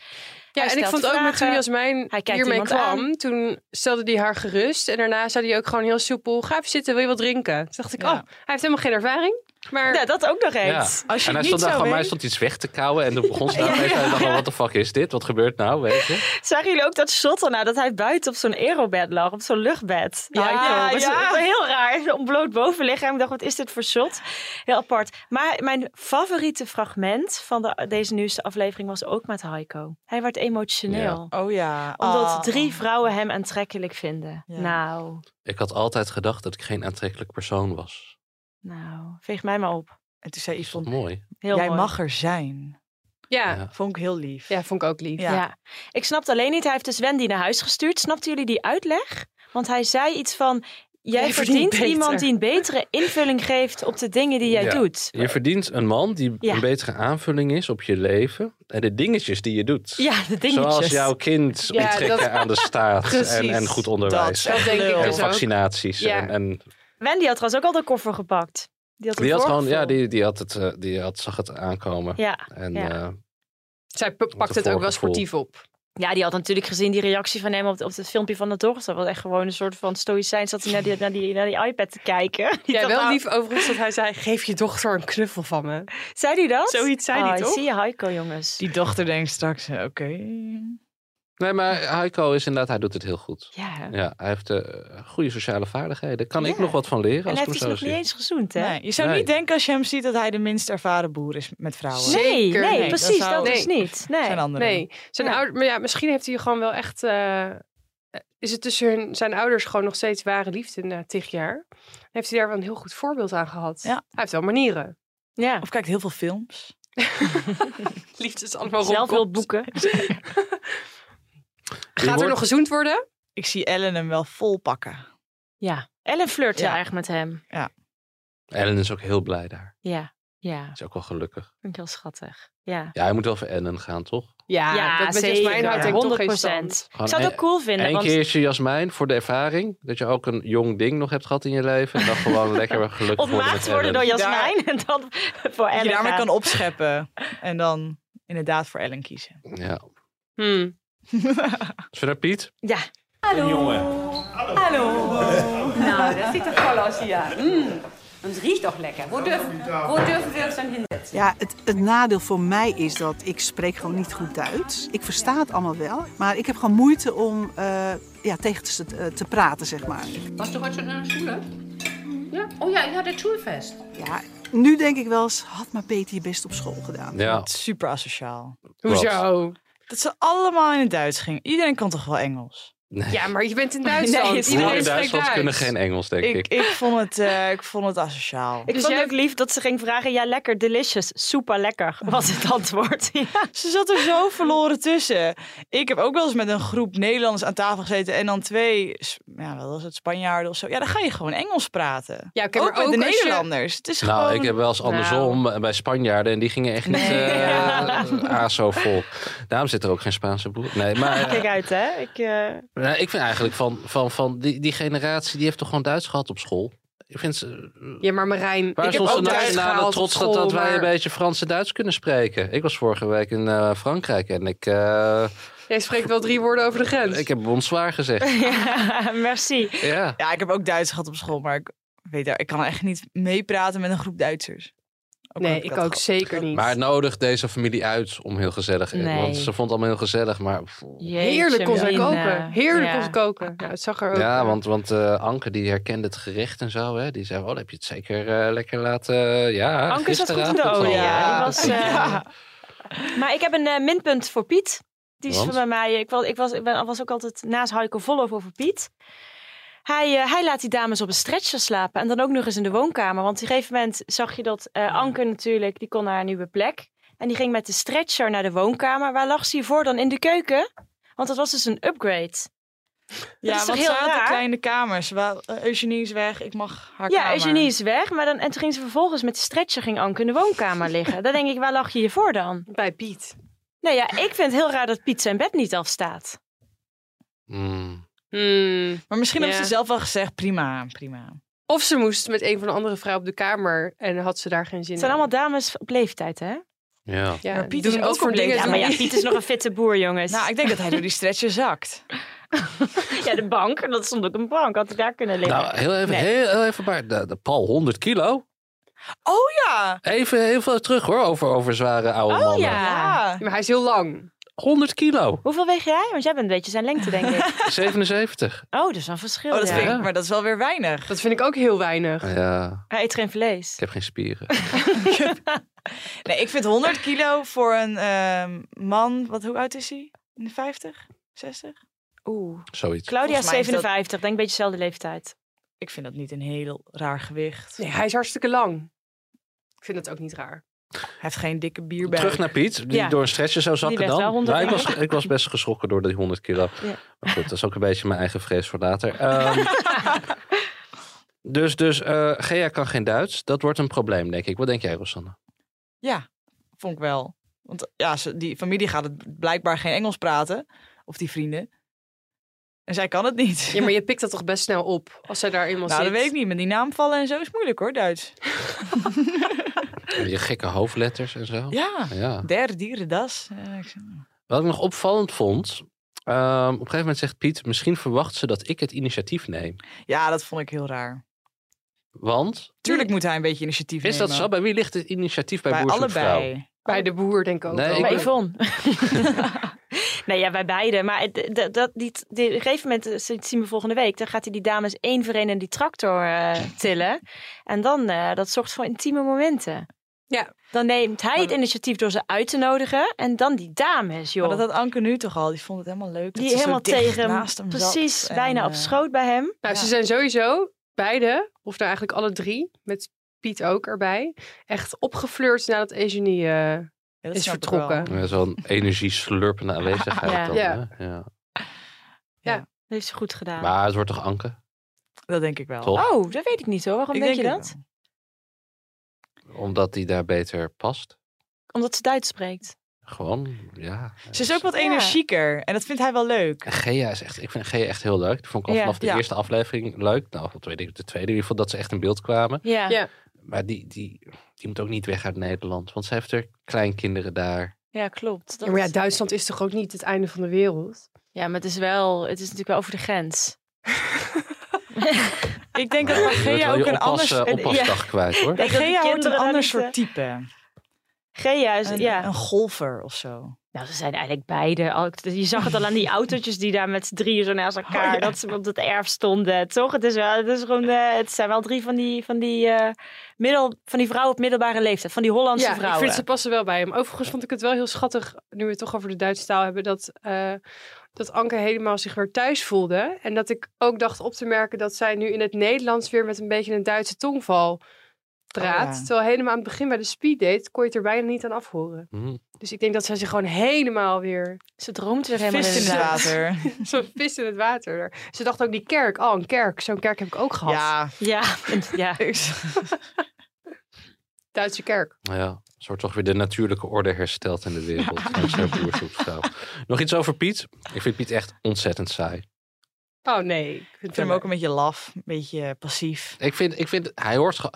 Speaker 8: Ja,
Speaker 3: Hij
Speaker 8: en ik
Speaker 3: stelt
Speaker 8: vond ook met
Speaker 3: vragen.
Speaker 8: toen Jasmijn
Speaker 3: Hij kijkt
Speaker 8: hiermee
Speaker 3: iemand
Speaker 8: kwam,
Speaker 3: aan.
Speaker 8: toen stelde hij haar gerust. En daarna zei hij ook gewoon heel soepel, ga even zitten, wil je wat drinken? Toen dacht ik, oh, hij heeft helemaal geen ervaring. Maar
Speaker 3: Ja, dat ook nog eens.
Speaker 7: Ja. en hij stond daar gewoon, maar hij stond iets weg te kauwen en dan begon ze daar opeens en ik dacht, wat de "Oh, fuck is dit? Wat gebeurt nou, weet je?
Speaker 3: Zagen jullie ook dat shot erna dat hij buiten op zo'n aerobed lag, op zo'n luchtbed?
Speaker 8: Ja,
Speaker 3: Nou,
Speaker 8: ja,
Speaker 3: dat is
Speaker 8: ja.
Speaker 3: heel raar. Ontbloot bovenlichaam. Ik dacht, wat is dit voor shot? Heel apart. Maar mijn favoriete fragment van de, deze nieuwste aflevering was ook met Heiko. Hij werd emotioneel.
Speaker 4: Oh ja.
Speaker 3: Omdat
Speaker 4: Ah.
Speaker 3: drie vrouwen hem aantrekkelijk vinden. Nou,
Speaker 7: Ik had altijd gedacht dat ik geen aantrekkelijk persoon was.
Speaker 3: nou, veeg mij maar op.
Speaker 4: En toen zei Yvonne,
Speaker 7: Mooi.
Speaker 3: Heel
Speaker 4: jij
Speaker 3: mooi.
Speaker 4: mag er zijn.
Speaker 8: Ja.
Speaker 4: Vond ik heel lief.
Speaker 8: Ja, vond ik ook lief.
Speaker 3: Ja. Ik snapte alleen niet, hij heeft dus Wendy naar huis gestuurd. Snapten jullie die uitleg? Want hij zei iets van, jij,
Speaker 8: Jij verdient
Speaker 3: verdient
Speaker 8: beter.
Speaker 3: iemand die een betere invulling geeft op de dingen die jij
Speaker 7: Ja.
Speaker 3: doet.
Speaker 7: Je verdient een man die
Speaker 3: Ja.
Speaker 7: een betere aanvulling is op je leven en de dingetjes die je doet.
Speaker 3: Ja, de dingetjes.
Speaker 7: Zoals jouw kind
Speaker 3: Ja,
Speaker 7: onttrekken
Speaker 3: dat-
Speaker 7: aan de staat en,
Speaker 3: Precies.
Speaker 7: en goed onderwijs.
Speaker 3: Dat- dat denk ik
Speaker 7: en
Speaker 3: dus ook.
Speaker 7: vaccinaties.
Speaker 3: Ja.
Speaker 7: En, en
Speaker 3: Wendy had trouwens ook al de koffer gepakt. Die had,
Speaker 7: die had gewoon,
Speaker 3: ja.
Speaker 7: ja, die, die, had het, eh, die had, zag het aankomen.
Speaker 3: Ja,
Speaker 7: En,
Speaker 3: ja.
Speaker 7: eh,
Speaker 8: Zij pakt het ook wel sportief op.
Speaker 3: Ja, die had natuurlijk gezien die reactie van hem op, op het filmpje van de dochter. Dat was echt gewoon een soort van stoïcijns dat hij naar die, naar die, naar die iPad te kijken. Die
Speaker 8: Ja,
Speaker 3: dacht,
Speaker 8: wel
Speaker 3: nou-
Speaker 8: lief overigens dat hij zei, geef je dochter een knuffel van me.
Speaker 3: Zei hij dat?
Speaker 8: Zoiets zei hij
Speaker 3: Oh,
Speaker 8: toch?
Speaker 3: Zie je Heiko, jongens.
Speaker 4: Die dochter denkt straks, eh, oké.
Speaker 7: Nee, maar Heiko is inderdaad, hij doet het heel goed.
Speaker 3: Ja, hè?
Speaker 7: ja hij heeft eh, goede sociale vaardigheden. Kan ik nog wat van leren
Speaker 3: en
Speaker 7: als
Speaker 3: hij heeft
Speaker 7: ik hem
Speaker 3: dus
Speaker 7: zo
Speaker 3: nog
Speaker 7: zie?
Speaker 3: niet eens gezoend, hè?
Speaker 4: Nee, je zou
Speaker 7: Nee.
Speaker 4: niet denken als je hem ziet dat hij de minst ervaren boer is met vrouwen.
Speaker 3: Nee,
Speaker 8: Zeker
Speaker 3: nee,
Speaker 8: niet.
Speaker 3: precies,
Speaker 4: Dan zou-
Speaker 3: dat is dus niet. Nee.
Speaker 4: Zijn andere.
Speaker 8: Nee, zijn ouder- maar ja, misschien heeft hij gewoon wel echt... eh, is het tussen hun, zijn ouders gewoon nog steeds ware liefde na tig jaar? Heeft hij daar wel een heel goed voorbeeld aan gehad? Hij heeft wel manieren.
Speaker 3: Ja.
Speaker 4: Of kijkt heel veel films.
Speaker 8: Liefde is allemaal
Speaker 4: Zelf wil
Speaker 3: boeken.
Speaker 8: Gaat er nog gezoend worden?
Speaker 4: Ik zie Ellen hem wel vol pakken.
Speaker 3: Ja, Ellen flirt
Speaker 4: Ja.
Speaker 3: eigenlijk met hem.
Speaker 4: Ja.
Speaker 7: Ellen is ook heel blij daar.
Speaker 3: Ja, ja.
Speaker 7: Is ook wel gelukkig.
Speaker 3: Vind ik heel schattig. Ja.
Speaker 7: Ja, hij moet wel voor Ellen gaan, toch?
Speaker 8: Ja, dat met Jasmijn houdt denk ik toch geen
Speaker 3: 100%.
Speaker 8: stand.
Speaker 3: Ik zou het ook cool vinden.
Speaker 7: Eén
Speaker 3: want...
Speaker 7: keertje Jasmijn voor de ervaring. Dat je ook een jong ding nog hebt gehad in je leven. En dan gewoon lekker gelukkig worden
Speaker 3: Ontmaagd
Speaker 7: met
Speaker 3: worden door
Speaker 7: Ellen.
Speaker 3: Jasmijn en dan voor
Speaker 4: Die
Speaker 3: Ellen
Speaker 4: je daarmee
Speaker 3: gaan.
Speaker 4: kan opscheppen. En dan inderdaad voor Ellen kiezen.
Speaker 7: Ja. Is er naar Piet?
Speaker 3: Ja.
Speaker 7: Een jongen.
Speaker 14: Hallo. Nou, das sieht doch toll aus hier. Mm. Und es riecht doch lecker. Wo dürfen, wo dürfen wir uns dann hinsetzen?
Speaker 15: Ja, het, het nadeel voor mij is dat ik spreek gewoon niet goed Duits. Ik versta het allemaal wel, maar ik heb gewoon moeite om eh, ja, tegen te, eh, te praten, zeg maar.
Speaker 14: Warst du heute schon
Speaker 2: eh,
Speaker 14: in der Schule?
Speaker 12: Mm-hmm.
Speaker 14: Ja. Oh ja, ich hatte Schulfest.
Speaker 15: Ja, nu denk ik wel eens, had maar beter je best op school gedaan.
Speaker 7: Ja.
Speaker 4: Oh. Super asociaal.
Speaker 8: Hoezo?
Speaker 4: Dat ze allemaal in het Duits gingen. Iedereen kan toch wel Engels?
Speaker 8: Ja, maar je bent in Duitsland.
Speaker 4: Nee,
Speaker 7: Boeren
Speaker 4: Iedereen
Speaker 7: in
Speaker 4: spreekt
Speaker 7: Duitsland
Speaker 4: Duits.
Speaker 7: kunnen geen Engels, denk ik.
Speaker 4: Ik, ik, vond, het, eh, ik vond het asociaal.
Speaker 8: Dus
Speaker 3: Ik vond het ook lief dat ze ging vragen, ja lekker, delicious, super lekker, was het antwoord. Ja.
Speaker 4: Ze zat er zo verloren tussen. Ik heb ook wel eens met een groep Nederlanders aan tafel gezeten en dan twee, S- ja, wat was het, Spanjaarden of zo. Ja, dan ga je gewoon Engels praten.
Speaker 8: Ja, oké, maar
Speaker 4: met de
Speaker 8: ook als je-
Speaker 4: Nederlanders. Het is
Speaker 7: nou,
Speaker 4: gewoon...
Speaker 7: ik heb wel eens andersom eh, bij Spanjaarden. En die gingen echt niet
Speaker 4: Nee.
Speaker 7: eh,
Speaker 4: Ja.
Speaker 7: ASO vol. Daarom zit er ook geen Spaanse boer. Nee, maar... eh,
Speaker 3: Kijk uit hè. Ik, eh,
Speaker 7: Nou, ik vind eigenlijk van, van, van die, die generatie, die heeft toch gewoon Duits gehad op school? Ik vind ze...
Speaker 8: Ja, maar Marijn,
Speaker 7: Waar
Speaker 8: ik
Speaker 7: is
Speaker 8: heb
Speaker 7: onze
Speaker 8: ook Duits
Speaker 7: nationale
Speaker 8: gehaald
Speaker 7: trots
Speaker 8: op
Speaker 7: dat, dat
Speaker 8: school,
Speaker 7: wij een
Speaker 8: maar-
Speaker 7: beetje Frans en Duits kunnen spreken? Ik was vorige week in eh, Frankrijk en ik, eh,
Speaker 8: Jij spreekt wel drie woorden over de grens.
Speaker 7: ik heb bonsoir gezegd.
Speaker 3: ja, merci.
Speaker 7: Ja.
Speaker 4: ja, ik heb ook Duits gehad op school, maar ik weet daar, ik kan echt niet meepraten met een groep Duitsers.
Speaker 8: nee, ik ook zeker niet.
Speaker 7: Maar nodig deze familie uit om heel gezellig te eten.
Speaker 8: Nee.
Speaker 7: Want ze vond het allemaal heel gezellig, maar... pff,
Speaker 8: Heerlijk kon ze
Speaker 3: Mina.
Speaker 8: koken. Heerlijk
Speaker 3: Ja.
Speaker 8: kon ze koken. Ja, het zag er ook.
Speaker 7: Ja,
Speaker 8: eh,
Speaker 7: want, want eh, Anke die herkende het gerecht en zo. Hè? Die zei, oh, dan heb je het zeker eh, lekker laten... eh, ja,
Speaker 3: Anke zat goed in
Speaker 7: gisteravond
Speaker 3: de
Speaker 7: al.
Speaker 3: olie.
Speaker 8: oh,
Speaker 3: Ja, die was, eh, Maar ik heb een eh, minpunt voor Piet. Die is
Speaker 7: Want?
Speaker 3: van bij mij. eh, Ik was, ik was, ik ben, was ook altijd naast Heiko Vollo voor Piet. Hij, eh, hij laat die dames op een stretcher slapen. En dan ook nog eens in de woonkamer. Want op een gegeven moment zag je dat eh, Anke natuurlijk, die kon naar haar nieuwe plek. En die ging met de stretcher naar de woonkamer. Waar lag ze hiervoor dan? In de keuken? Want dat was dus een upgrade. dat
Speaker 4: Ja,
Speaker 3: is toch
Speaker 4: want
Speaker 3: heel
Speaker 4: zij had de
Speaker 3: raar?
Speaker 4: kleine kamers. Wel, eh, Eugenie is weg, ik mag haar
Speaker 3: Ja,
Speaker 4: kamer.
Speaker 3: Eugenie is weg. Maar dan, en toen ging ze vervolgens met de stretcher ging Anke in de woonkamer liggen. Dan denk ik, waar lag je hiervoor dan?
Speaker 8: Bij Piet.
Speaker 3: Nou ja, ik vind het heel raar dat Piet zijn bed niet afstaat.
Speaker 7: Mm.
Speaker 4: Maar misschien
Speaker 8: Ja.
Speaker 4: hebben ze zelf wel gezegd, prima, prima.
Speaker 8: Hmm. Of ze moest met een van de andere vrouwen op de kamer en had ze daar geen zin
Speaker 3: Het zijn
Speaker 8: in.
Speaker 3: allemaal dames op leeftijd, hè?
Speaker 7: Ja.
Speaker 8: Ja,
Speaker 4: Maar Piet
Speaker 8: doen
Speaker 4: is
Speaker 8: dat
Speaker 4: ook
Speaker 8: soort
Speaker 4: een
Speaker 8: dingen.
Speaker 4: beetje-
Speaker 3: Ja,
Speaker 8: doen
Speaker 3: maar
Speaker 8: die-
Speaker 3: ja, Piet is nog een fitte boer, jongens.
Speaker 4: Nou, ik denk dat hij door die stretcher zakt.
Speaker 3: Ja, de bank. En dat stond ook een bank. Had ik daar kunnen liggen.
Speaker 7: Nou, heel even,
Speaker 3: Nee.
Speaker 7: heel, heel even maar. De, de Paul, 100 kilo.
Speaker 4: Oh ja!
Speaker 7: Even heel veel terug hoor, over, over zware
Speaker 4: Oh,
Speaker 7: oude mannen.
Speaker 8: Maar hij is heel lang.
Speaker 7: 100 kilo.
Speaker 3: Hoeveel weeg jij? Want jij bent een beetje zijn lengte, denk ik.
Speaker 7: 77.
Speaker 3: Oh, dat is wel een verschil.
Speaker 4: Oh, dat
Speaker 3: ja.
Speaker 4: vind ik, maar dat is wel weer weinig.
Speaker 8: Dat vind ik ook heel weinig.
Speaker 7: Ja,
Speaker 3: Hij eet geen vlees.
Speaker 7: ik heb geen spieren.
Speaker 4: Nee, ik vind 100 kilo voor een ehm, man, wat, hoe oud is hij? In de 50? 60?
Speaker 3: Oeh.
Speaker 7: Zoiets.
Speaker 3: Claudia is
Speaker 4: Volgens mij is dat-
Speaker 3: 57. Denk een beetje dezelfde leeftijd.
Speaker 4: Ik vind dat niet een heel raar gewicht.
Speaker 8: Nee, hij is hartstikke lang. Ik vind dat ook niet raar.
Speaker 4: Hij heeft geen dikke bierbuik.
Speaker 7: Terug naar Piet, die
Speaker 4: Ja.
Speaker 7: door een stretcher zou zakken
Speaker 4: Die weegt wel
Speaker 7: dan.
Speaker 4: 100
Speaker 7: Maar ik was,
Speaker 4: kilo.
Speaker 7: ik was best geschrokken door die 100 kilo.
Speaker 4: Ja.
Speaker 7: Maar goed, dat is ook een beetje mijn eigen vrees voor later. Ehm, dus dus eh, Gea kan geen Duits. Dat wordt een probleem, denk ik. Wat denk jij, Rosanne?
Speaker 4: Ja, vond ik wel. Want eh, ja, ze- die familie gaat het blijkbaar geen Engels praten. Of die vrienden. En zij kan het niet.
Speaker 8: Ja, maar je pikt dat toch best snel op als zij daar eenmaal
Speaker 4: nou,
Speaker 8: zit.
Speaker 4: dat weet ik niet. Met die naamvallen en zo is moeilijk hoor, Duits.
Speaker 7: Je gekke hoofdletters en zo.
Speaker 4: Ja,
Speaker 7: ja.
Speaker 4: der, dieren, das. Ja, ik zeg-
Speaker 7: Wat ik nog opvallend vond. ehm, op een gegeven moment zegt Piet: Misschien verwacht ze dat ik het initiatief neem.
Speaker 4: Ja, dat vond ik heel raar.
Speaker 7: Want.
Speaker 4: Tuurlijk moet hij een beetje initiatief
Speaker 7: Is
Speaker 4: nemen.
Speaker 7: dat zo? Bij wie ligt het initiatief bij,
Speaker 4: Bij
Speaker 7: Boer Zoekt
Speaker 4: allebei.
Speaker 7: Vrouw?
Speaker 8: Bij de boer denk ik ook
Speaker 7: Nee,
Speaker 8: wel.
Speaker 7: ik-
Speaker 3: Bij Yvonne. nee, ja, bij beide. Maar het- dat, dat, die, die, op een gegeven moment, eh, dat zien we volgende week, dan gaat hij die dames één voor één in die tractor eh, tillen. En dan, eh, dat zorgt voor intieme momenten.
Speaker 8: Ja.
Speaker 3: Dan neemt hij het initiatief door ze uit te nodigen. En dan die dames, joh.
Speaker 4: Maar dat had Anke nu toch al. Die vond het helemaal leuk. dat
Speaker 3: die
Speaker 4: ze zo
Speaker 3: helemaal
Speaker 4: dicht
Speaker 3: tegen hem,
Speaker 4: naast hem zat
Speaker 3: precies,
Speaker 4: en,
Speaker 3: bijna op
Speaker 4: eh,
Speaker 3: schoot bij hem.
Speaker 8: Nou, ze zijn sowieso beide, of nou eigenlijk alle drie, met Piet ook erbij, echt opgeflirt nadat Eugenie eh,
Speaker 4: dat
Speaker 8: is
Speaker 4: snap ik wel.
Speaker 8: vertrokken.
Speaker 7: Ja, Zo'n energieslurpende aanwezigheid.
Speaker 8: Ja.
Speaker 7: Dan,
Speaker 8: Ja.
Speaker 7: hè? Ja.
Speaker 3: Dat heeft ze goed gedaan.
Speaker 7: Maar het wordt toch Anke?
Speaker 4: Dat denk ik wel.
Speaker 7: Toch?
Speaker 3: Oh, dat weet ik niet hoor. Waarom
Speaker 4: Ik
Speaker 3: denk je
Speaker 4: denk het
Speaker 3: dat?
Speaker 7: Omdat die daar beter past.
Speaker 3: Omdat ze Duits spreekt.
Speaker 7: Gewoon, ja.
Speaker 4: Ze is ook wat
Speaker 3: Ja.
Speaker 4: energieker. En dat vindt hij wel leuk.
Speaker 7: En Gea is echt, ik vind Gea echt heel leuk. Die vond ik al
Speaker 4: Ja.
Speaker 7: vanaf de
Speaker 4: Ja.
Speaker 7: eerste aflevering leuk. Nou, wat weet ik, de tweede in ieder geval, dat ze echt in beeld kwamen.
Speaker 3: Ja.
Speaker 8: Ja.
Speaker 7: Maar die, die, die moet ook niet weg uit Nederland. Want ze heeft er kleinkinderen daar.
Speaker 3: Ja, klopt.
Speaker 8: Ja, maar ja, Duitsland is toch ook niet het einde van de wereld?
Speaker 3: Ja, maar het is wel, het is natuurlijk wel over de grens.
Speaker 4: Ik denk dat
Speaker 7: Je bent
Speaker 4: Gea
Speaker 7: wel
Speaker 4: ook
Speaker 7: je
Speaker 4: een anders...
Speaker 7: oppas, eh, oppasdag kwijt hoor.
Speaker 3: dat die
Speaker 4: Gea wordt een
Speaker 3: kinderen
Speaker 4: ander
Speaker 3: niet,
Speaker 4: soort
Speaker 3: eh,
Speaker 4: type.
Speaker 3: Gea is,
Speaker 4: Een,
Speaker 3: ja.
Speaker 4: een golfer of zo.
Speaker 3: Nou, ze zijn eigenlijk beide. al- Je zag het al aan die autootjes die daar met z'n drieën zo naast elkaar.
Speaker 4: Oh, ja.
Speaker 3: Dat ze op het erf stonden. Toch? Het, is wel, het, is gewoon, eh, het zijn wel drie van die, van, die, eh, middel, van die vrouwen op middelbare leeftijd. Van die Hollandse
Speaker 8: ja,
Speaker 3: vrouwen.
Speaker 8: ik vind ze passen wel bij hem. Overigens vond ik het wel heel schattig, nu we het toch over de Duitse taal hebben, dat, eh, dat Anke helemaal zich weer thuis voelde. En dat ik ook dacht op te merken dat zij nu in het Nederlands weer met een beetje een Duitse tongval praat.
Speaker 4: Oh ja.
Speaker 8: Terwijl helemaal aan het begin bij de speeddate kon je het er bijna niet aan afhoren.
Speaker 4: Mhm.
Speaker 8: Dus ik denk dat zij zich gewoon helemaal weer...
Speaker 3: Ze droomt weer helemaal
Speaker 4: Vis in het
Speaker 3: de-
Speaker 4: water.
Speaker 8: Zo'n vis in het water. Ze dacht ook die kerk. Oh, een kerk. Zo'n kerk heb ik ook gehad.
Speaker 4: Ja.
Speaker 3: Ja, ja.
Speaker 8: Duitse kerk.
Speaker 7: Ja, zo wordt toch weer de natuurlijke orde hersteld in de wereld. Dankzij Boer Zoekt Vrouw. Nog iets over Piet? Ik vind Piet echt ontzettend saai.
Speaker 8: Oh nee. Ik
Speaker 4: Ik vind hem ook een beetje laf. Een beetje eh, passief.
Speaker 7: Ik vind, ik vind hij hoort. ge-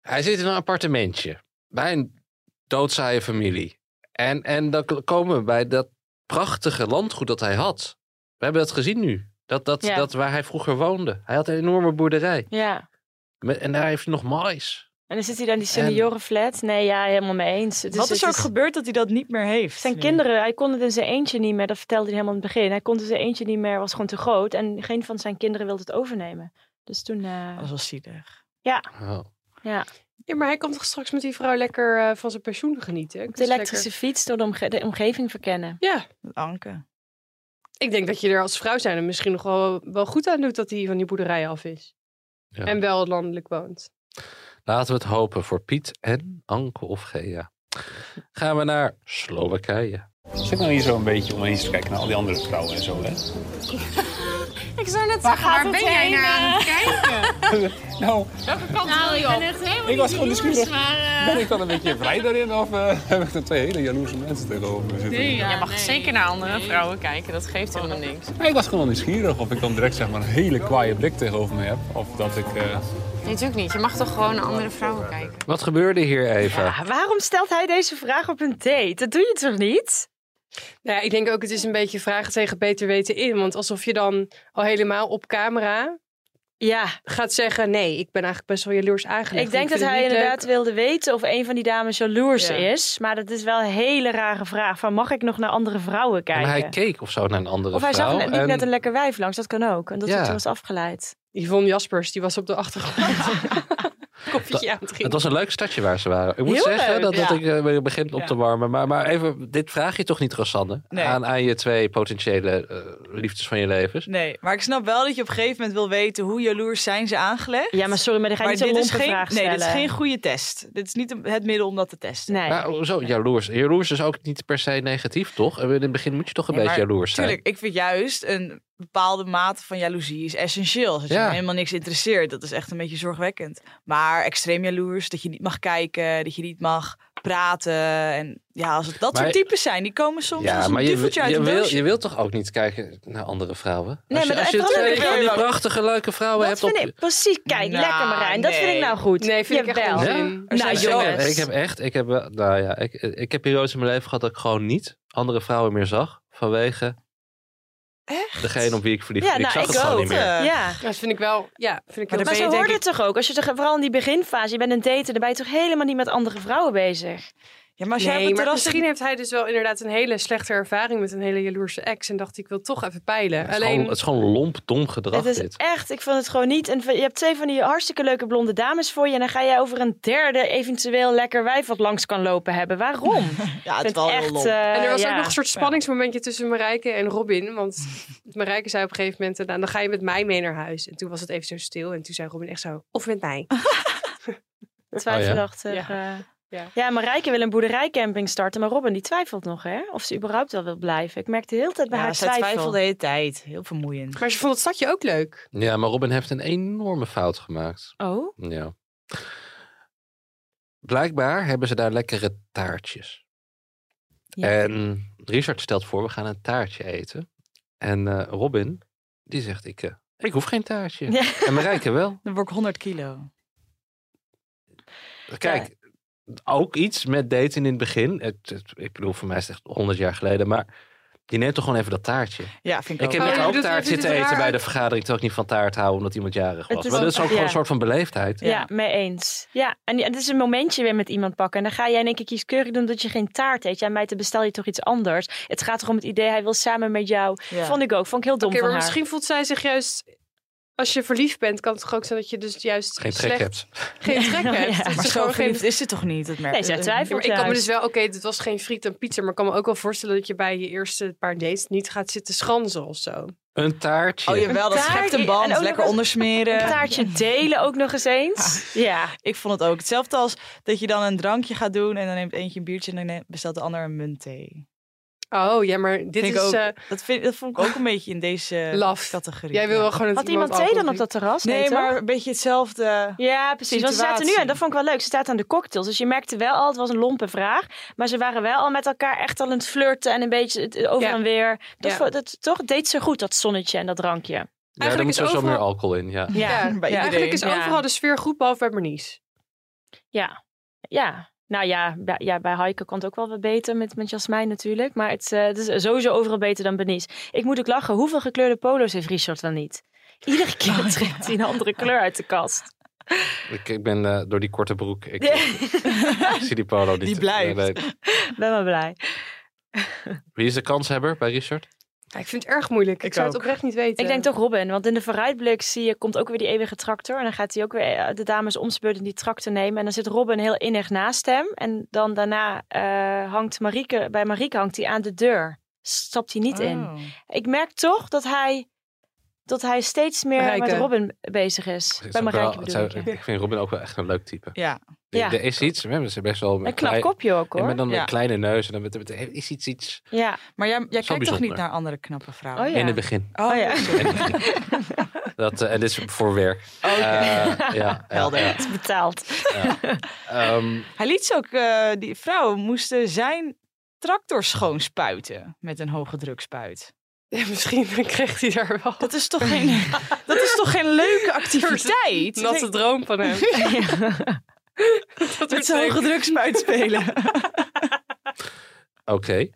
Speaker 7: Hij zit in een appartementje bij een doodzaaie familie. En, en dan k- komen we bij dat prachtige landgoed dat hij had. We hebben dat gezien nu. Dat, dat,
Speaker 3: Ja.
Speaker 7: dat waar hij vroeger woonde. Hij had een enorme boerderij.
Speaker 3: Ja.
Speaker 7: Met, en daar heeft hij nog mais.
Speaker 3: En dan zit hij dan in die seniorenflat. Nee, ja, helemaal mee eens. Dus Het
Speaker 4: Wat is er ook gebeurd dat hij dat niet meer heeft?
Speaker 3: Zijn kinderen, hij kon het in zijn eentje niet meer. Dat vertelde hij helemaal in het begin. Hij kon het in zijn eentje niet meer, was gewoon te groot. En geen van zijn kinderen wilde het overnemen. Dus toen... eh,
Speaker 4: Oh, Dat is wel zielig.
Speaker 3: Ja, ja.
Speaker 8: Ja, maar hij kan toch straks met die vrouw lekker eh, van zijn pensioen genieten?
Speaker 3: Op de elektrische fiets door de, omge- de omgeving verkennen.
Speaker 8: Ja,
Speaker 4: Anke.
Speaker 8: ik denk dat je er als vrouw zijn er misschien nog wel, wel goed aan doet dat hij van die boerderij af is.
Speaker 7: Ja.
Speaker 8: En wel landelijk woont.
Speaker 7: Laten we het hopen voor Piet en Anke of Gea. Gaan we naar Slowakije.
Speaker 5: Zit nou hier zo een beetje om eens te kijken naar al die andere vrouwen en zo, hè?
Speaker 16: Ik zou net
Speaker 17: Waar
Speaker 16: zeggen, waar
Speaker 17: gaat
Speaker 16: ben
Speaker 17: het
Speaker 16: jij
Speaker 17: heen,
Speaker 16: naar aan het kijken?
Speaker 5: nou,
Speaker 16: Welke kant
Speaker 17: Nou,
Speaker 16: wil je
Speaker 17: ik
Speaker 16: op?
Speaker 17: ben echt helemaal
Speaker 5: ik was
Speaker 16: niet
Speaker 5: gewoon
Speaker 16: jaloers,
Speaker 5: nieuwsgierig.
Speaker 16: maar, eh,
Speaker 5: Ben ik dan een beetje vrij daarin of eh, heb ik dan twee hele jaloerse mensen tegenover me zitten?
Speaker 16: Nee, je mag zeker naar andere vrouwen kijken, dat geeft helemaal niks.
Speaker 5: Maar ik was gewoon nieuwsgierig of ik dan direct zeg maar, een hele kwaaie blik tegenover me heb. Of dat ik... eh,
Speaker 16: Nee, natuurlijk niet. Je mag toch gewoon naar andere vrouwen kijken?
Speaker 7: Wat gebeurde hier even?
Speaker 3: Ah, waarom stelt hij deze vraag op een date? Dat doe je toch niet?
Speaker 8: Nou, ja, ik denk ook het is een beetje vragen tegen beter weten in. Want alsof je dan al helemaal op camera
Speaker 3: ja.
Speaker 8: gaat zeggen... nee, ik ben eigenlijk best wel jaloers aangelegd.
Speaker 3: Ik denk dat
Speaker 8: vind het
Speaker 3: hij
Speaker 8: niet
Speaker 3: inderdaad
Speaker 8: leuk.
Speaker 3: wilde weten of een van die dames jaloers
Speaker 8: Ja.
Speaker 3: is. Maar dat is wel een hele rare vraag. Van mag ik nog naar andere vrouwen kijken?
Speaker 7: Maar hij keek of zo naar een andere
Speaker 3: of hij
Speaker 7: vrouw.
Speaker 3: zag net, liep
Speaker 7: en-
Speaker 3: net een lekker wijf langs. Dat kan ook. En dat
Speaker 7: Ja.
Speaker 3: hij toen was afgeleid.
Speaker 8: Yvonne Jaspers, die was op de achtergrond. Koffietje aan het
Speaker 7: Het
Speaker 8: drinken.
Speaker 7: was een leuk stadje waar ze waren. Ik moet
Speaker 8: Heel
Speaker 7: zeggen
Speaker 8: leuk,
Speaker 7: dat, dat
Speaker 8: ja.
Speaker 7: ik eh, weer begin op
Speaker 8: Ja.
Speaker 7: te warmen. Maar, maar even, dit vraag je toch niet, Rosanne?
Speaker 4: Nee.
Speaker 7: Aan, aan je twee potentiële eh, liefdes van je levens.
Speaker 4: Nee, maar ik snap wel dat je op een gegeven moment wil weten hoe jaloers zijn ze aangelegd.
Speaker 3: Ja, maar sorry, maar dan ga je niet zo'n
Speaker 4: dit is
Speaker 3: lompe
Speaker 4: geen,
Speaker 3: vraag
Speaker 4: Nee, dit is
Speaker 3: stellen.
Speaker 4: geen goede test. Dit is niet een- het middel om dat te testen.
Speaker 3: Nee.
Speaker 7: Maar oh, zo jaloers. Jaloers is ook niet per se negatief, toch? Eh, In het begin moet je toch een
Speaker 4: Ja,
Speaker 7: beetje
Speaker 4: maar
Speaker 7: jaloers zijn.
Speaker 4: Tuurlijk, ik vind juist een bepaalde mate van jaloezie is essentieel. Dat je
Speaker 7: Ja.
Speaker 4: helemaal niks interesseert, dat is echt een beetje zorgwekkend. Maar extreem jaloers, dat je niet mag kijken, dat je niet mag praten. En ja, als het dat
Speaker 7: Maar-
Speaker 4: soort types zijn, die komen soms als een
Speaker 7: je,
Speaker 4: duveltje uit
Speaker 7: je,
Speaker 4: een
Speaker 7: wil,
Speaker 4: doosje.
Speaker 7: je wilt toch ook niet kijken naar andere vrouwen?
Speaker 4: Nee,
Speaker 7: als je,
Speaker 4: maar
Speaker 7: als je
Speaker 4: dat-
Speaker 7: twee
Speaker 4: dat-
Speaker 7: van die
Speaker 4: dat-
Speaker 7: prachtige, leuke vrouwen
Speaker 3: Dat
Speaker 7: hebt
Speaker 3: vind
Speaker 7: op...
Speaker 3: ik precies. Kijk,
Speaker 4: Nou,
Speaker 3: lekker Marijn. Dat vind ik nou goed.
Speaker 8: Nee, vind ik echt
Speaker 3: Jawel.
Speaker 8: onzin.
Speaker 3: Nou,
Speaker 7: Ik heb-
Speaker 3: jongens.
Speaker 7: Ik heb echt, ik heb, wel- nou ja, ik, ik heb periodes in mijn leven gehad dat ik gewoon niet andere vrouwen meer zag. Vanwege degene op wie ik verliefd
Speaker 3: Ja,
Speaker 7: ben. Ik
Speaker 3: nou,
Speaker 7: zag
Speaker 3: ik
Speaker 7: het gewoon
Speaker 3: ook.
Speaker 7: niet meer.
Speaker 4: eh.
Speaker 3: Ja.
Speaker 8: Ja, dat vind ik wel... Ja, vind ik heel
Speaker 3: Maar,
Speaker 8: fijn.
Speaker 3: ze hoorden het toch ook? Als je toch, vooral in die beginfase, je bent een date en dan ben je toch helemaal niet met andere vrouwen bezig?
Speaker 4: Ja, maar
Speaker 8: nee, maar misschien heeft hij dus wel inderdaad een hele slechte ervaring met een hele jaloerse ex. En dacht ik wil toch even peilen.
Speaker 7: Het is,
Speaker 8: Alleen,
Speaker 7: gewoon, het is gewoon lomp, dom gedrag
Speaker 3: Het is
Speaker 7: dit.
Speaker 3: echt, ik vond het gewoon niet. En je hebt twee van die hartstikke leuke blonde dames voor je. En dan ga jij over een derde eventueel lekker wijf wat langs kan lopen hebben. Waarom?
Speaker 4: ja,
Speaker 3: het is
Speaker 4: wel heel lomp.
Speaker 3: eh,
Speaker 8: en er was ook nog een soort spanningsmomentje tussen Marijke en Robin. Want Marijke zei op een gegeven moment, nou, dan ga je met mij mee naar huis. En toen was het even zo stil. En toen zei Robin echt zo, of met mij.
Speaker 3: Twijfelachtig.
Speaker 8: Oh, ja.
Speaker 3: eh.
Speaker 8: Ja.
Speaker 3: Ja, Marijke wil een boerderijcamping starten, maar Robin die twijfelt nog hè, of ze überhaupt wel wil blijven. Ik merkte de hele tijd bij
Speaker 4: Ja,
Speaker 3: haar
Speaker 4: zij
Speaker 3: twijfel.
Speaker 4: twijfelt de hele tijd. Heel vermoeiend.
Speaker 8: Maar ze vond het stadje ook leuk.
Speaker 7: Ja, maar Robin heeft een enorme fout gemaakt.
Speaker 3: Oh?
Speaker 7: Ja. Blijkbaar hebben ze daar lekkere taartjes. En Richard stelt voor, we gaan een taartje eten. En eh, Robin, die zegt, ik, eh, ik hoef geen taartje.
Speaker 4: Ja.
Speaker 7: En Marijke wel.
Speaker 4: Dan word ik 100 kilo.
Speaker 7: Kijk, ook iets met daten in het begin. Het, het- ik bedoel, voor mij is het echt 100 jaar geleden, maar... Je neemt toch gewoon even dat taartje.
Speaker 4: Ja, vind ik
Speaker 7: Ik heb
Speaker 4: ook.
Speaker 7: net
Speaker 4: Oh, je
Speaker 7: ook
Speaker 4: bedoelt, je
Speaker 7: taart
Speaker 4: vindt
Speaker 7: zitten
Speaker 4: het
Speaker 7: eten
Speaker 4: raar
Speaker 7: bij
Speaker 4: uit?
Speaker 7: de vergadering, terwijl ik niet van taart hou omdat iemand jarig
Speaker 3: Het
Speaker 7: was.
Speaker 3: is
Speaker 7: Maar dat
Speaker 3: ook-
Speaker 7: is ook gewoon
Speaker 3: ja.
Speaker 7: een soort van beleefdheid.
Speaker 3: Ja, mee eens. Ja, en het is een momentje weer met iemand pakken. En dan ga jij in één keer kieskeurig doen dat je geen taart eet. Ja, meid, dan bestel je toch iets anders. Het gaat toch om het idee, hij wil samen met jou.
Speaker 8: Ja.
Speaker 3: Vond ik ook, vond ik heel dom
Speaker 8: Oké,
Speaker 3: van
Speaker 8: maar
Speaker 3: haar.
Speaker 8: misschien voelt zij zich juist... Als je verliefd bent, kan het toch ook zijn dat je dus juist
Speaker 7: Geen trek
Speaker 8: slecht...
Speaker 7: hebt.
Speaker 8: Geen trek
Speaker 4: Ja,
Speaker 8: hebt. Dat
Speaker 4: Maar
Speaker 8: ze
Speaker 4: zo
Speaker 8: gewoon geen-
Speaker 4: verliefd is ze toch niet? Dat merk
Speaker 3: Nee, zij twijfelt
Speaker 8: Ja, maar ik kan me
Speaker 3: juist.
Speaker 8: dus wel, oké, dit was geen friet en pizza, maar ik kan me ook wel voorstellen dat je bij je eerste paar dates niet gaat zitten schansen of zo.
Speaker 7: Een taartje.
Speaker 4: Oh jawel, dat
Speaker 3: Een taart-
Speaker 4: schept een
Speaker 3: en
Speaker 4: band.
Speaker 3: ook nog
Speaker 4: Lekker
Speaker 3: eens
Speaker 4: ondersmeren.
Speaker 3: een taartje delen ook nog eens eens. Ja.
Speaker 4: Ik vond het ook hetzelfde als dat je dan een drankje gaat doen en dan neemt eentje een biertje en dan neemt- bestelt de ander een muntthee.
Speaker 8: Oh ja, maar dit
Speaker 4: Vind ik
Speaker 8: is
Speaker 4: ook-
Speaker 8: eh,
Speaker 4: dat, vind, dat vond ik ook een beetje in deze
Speaker 8: laf.
Speaker 4: categorie.
Speaker 8: Jij wil wel gewoon dat
Speaker 3: Had iemand thee dan op dat terras?
Speaker 4: Nee,
Speaker 3: toch?
Speaker 4: maar een beetje hetzelfde.
Speaker 3: Ja, precies. Want ze zaten nu,
Speaker 4: situatie.
Speaker 3: en dat vond ik wel leuk, ze zaten aan de cocktails. Dus je merkte wel al, het was een lompe vraag. Maar ze waren wel al met elkaar echt al aan het flirten en een beetje het over
Speaker 8: Ja.
Speaker 3: en weer. Dat,
Speaker 8: Ja.
Speaker 3: vo- dat, toch deed ze goed, dat zonnetje en dat drankje.
Speaker 7: Ja, daar
Speaker 8: Eigenlijk
Speaker 7: moet
Speaker 8: is
Speaker 7: sowieso meer
Speaker 8: overal-
Speaker 7: alcohol in. Ja.
Speaker 3: Ja,
Speaker 8: Ja,
Speaker 3: bij
Speaker 8: ja, eigenlijk
Speaker 3: iedereen.
Speaker 8: is
Speaker 3: Ja.
Speaker 8: overal de sfeer goed, behalve bij Bernice.
Speaker 3: Ja, ja. Nou ja, bij, ja, bij Heike kon het ook wel wat beter met, met Jasmijn natuurlijk. Maar het, eh, het is sowieso overal beter dan Bernice. Ik moet ook Oh, lachen, hoeveel gekleurde polo's heeft Richard dan niet? Iedere keer trekt hij een andere kleur uit de kast.
Speaker 7: Ik, ik ben eh, door die korte broek. Ik, ik zie die polo niet.
Speaker 3: Die blijft.
Speaker 7: Nee, nee.
Speaker 3: ben wel blij.
Speaker 7: Wie is de kanshebber bij Richard?
Speaker 3: ik vind het erg moeilijk.
Speaker 8: Ik zou het ook. oprecht niet weten.
Speaker 3: Ik denk toch Robin, want in de vooruitblik zie je, komt ook weer die eeuwige tractor. En dan gaat hij ook weer eh, de dames om zijn beurt in die tractor nemen. En dan zit Robin heel innig naast hem. En dan daarna eh, hangt Marieke, bij Marieke hangt hij aan de deur. Stapt hij
Speaker 4: Oh,
Speaker 3: niet in. Ik merk toch dat hij, dat hij steeds meer
Speaker 7: Marijke.
Speaker 3: met Robin bezig is.
Speaker 7: Het
Speaker 3: bij
Speaker 7: is ook wel-
Speaker 3: Marijke
Speaker 7: het
Speaker 3: bedoel
Speaker 7: zou-
Speaker 3: ik. ja.
Speaker 7: ik vind Robin ook wel echt een leuk type.
Speaker 3: Ja.
Speaker 7: Er-
Speaker 3: Ja.
Speaker 7: Er is iets, we hebben ze best wel... met
Speaker 3: Een knap
Speaker 7: klei-
Speaker 3: kopje ook, hoor.
Speaker 7: En met dan
Speaker 3: Ja.
Speaker 7: een kleine neus en dan met, met- is iets, iets...
Speaker 3: Ja.
Speaker 4: Maar jij, jij
Speaker 7: Zo
Speaker 4: kijkt toch
Speaker 7: bijzonder.
Speaker 4: niet naar andere knappe vrouwen?
Speaker 7: Oh, ja. In het begin.
Speaker 4: Oh, ja.
Speaker 7: Dat, eh, en dit is voor werk.
Speaker 4: Oké.
Speaker 7: Eh, ja, ja,
Speaker 4: Helder.
Speaker 7: ja.
Speaker 4: Het
Speaker 3: is betaald.
Speaker 7: Ehm,
Speaker 4: Hij liet ze ook, eh, die vrouwen moesten zijn tractor schoon spuiten met een hoge drukspuit.
Speaker 8: Ja, misschien kreeg hij daar wel.
Speaker 4: Dat is toch geen, dat is toch geen leuke activiteit?
Speaker 8: Natte droom van hem.
Speaker 4: Dat met zo'n hoge drukspuit spelen.
Speaker 7: Oké.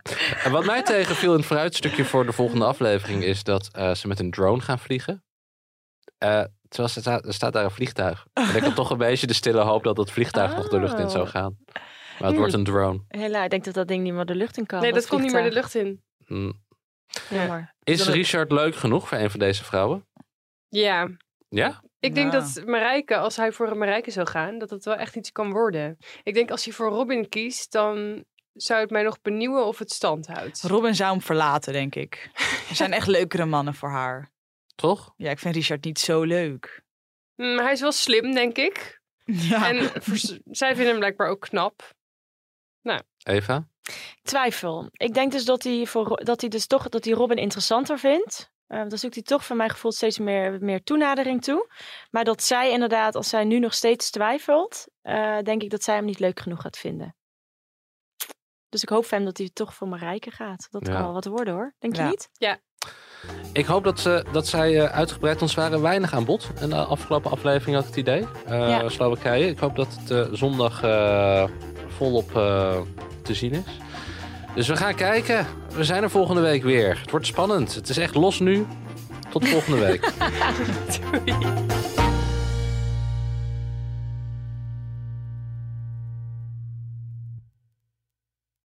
Speaker 7: En wat mij tegenviel in het vooruitstukje voor de volgende aflevering is dat eh, ze met een drone gaan vliegen. Eh, terwijl ze sta- er staat daar een vliegtuig. En ik had toch een beetje de stille hoop dat dat vliegtuig nog de lucht in zou gaan. Maar het wordt een drone.
Speaker 3: Hela, ik denk dat dat ding niet meer de lucht in kan. eh,
Speaker 8: Nee, dat kon niet meer de
Speaker 3: vliegtuig.
Speaker 8: lucht in.
Speaker 7: Hm.
Speaker 3: Jammer.
Speaker 7: Is Richard leuk genoeg voor een van deze vrouwen?
Speaker 8: Ja.
Speaker 7: Ja?
Speaker 8: Ik denk dat Marijke, als hij voor een Marijke zou gaan, dat dat wel echt iets kan worden. Ik denk als hij voor Robin kiest, dan zou het mij nog benieuwen of het stand houdt.
Speaker 4: Robin zou hem verlaten, denk ik. Er zijn echt leukere mannen voor haar.
Speaker 7: Toch?
Speaker 4: Ja, ik vind Richard niet zo leuk.
Speaker 8: Mm, hij is wel slim, denk ik. En vers- zij vinden hem blijkbaar ook knap. Nou,
Speaker 7: Eva?
Speaker 3: Twijfel. Ik denk dus dat hij, voor, dat hij dus toch dat hij Robin interessanter vindt. Eh dan zoekt hij toch van mijn gevoel steeds meer, meer toenadering toe. Maar dat zij inderdaad, als zij nu nog steeds twijfelt, eh, denk ik dat zij hem niet leuk genoeg gaat vinden. Dus ik hoop van hem dat hij toch voor Marijke gaat. Dat
Speaker 7: Ja.
Speaker 3: kan wel wat worden hoor. Denk
Speaker 7: Ja.
Speaker 3: je niet? Ja.
Speaker 7: Ik hoop dat, ze, dat zij eh, uitgebreid ons waren. Weinig aan bod. En de afgelopen aflevering had ik het idee. Eh,
Speaker 3: Ja.
Speaker 7: Slowakije. Ik hoop dat het eh, zondag eh, volop eh, te zien is. Dus we gaan kijken. We zijn er volgende week weer. Het wordt spannend. Het is echt los nu. Tot volgende week.
Speaker 8: Doei.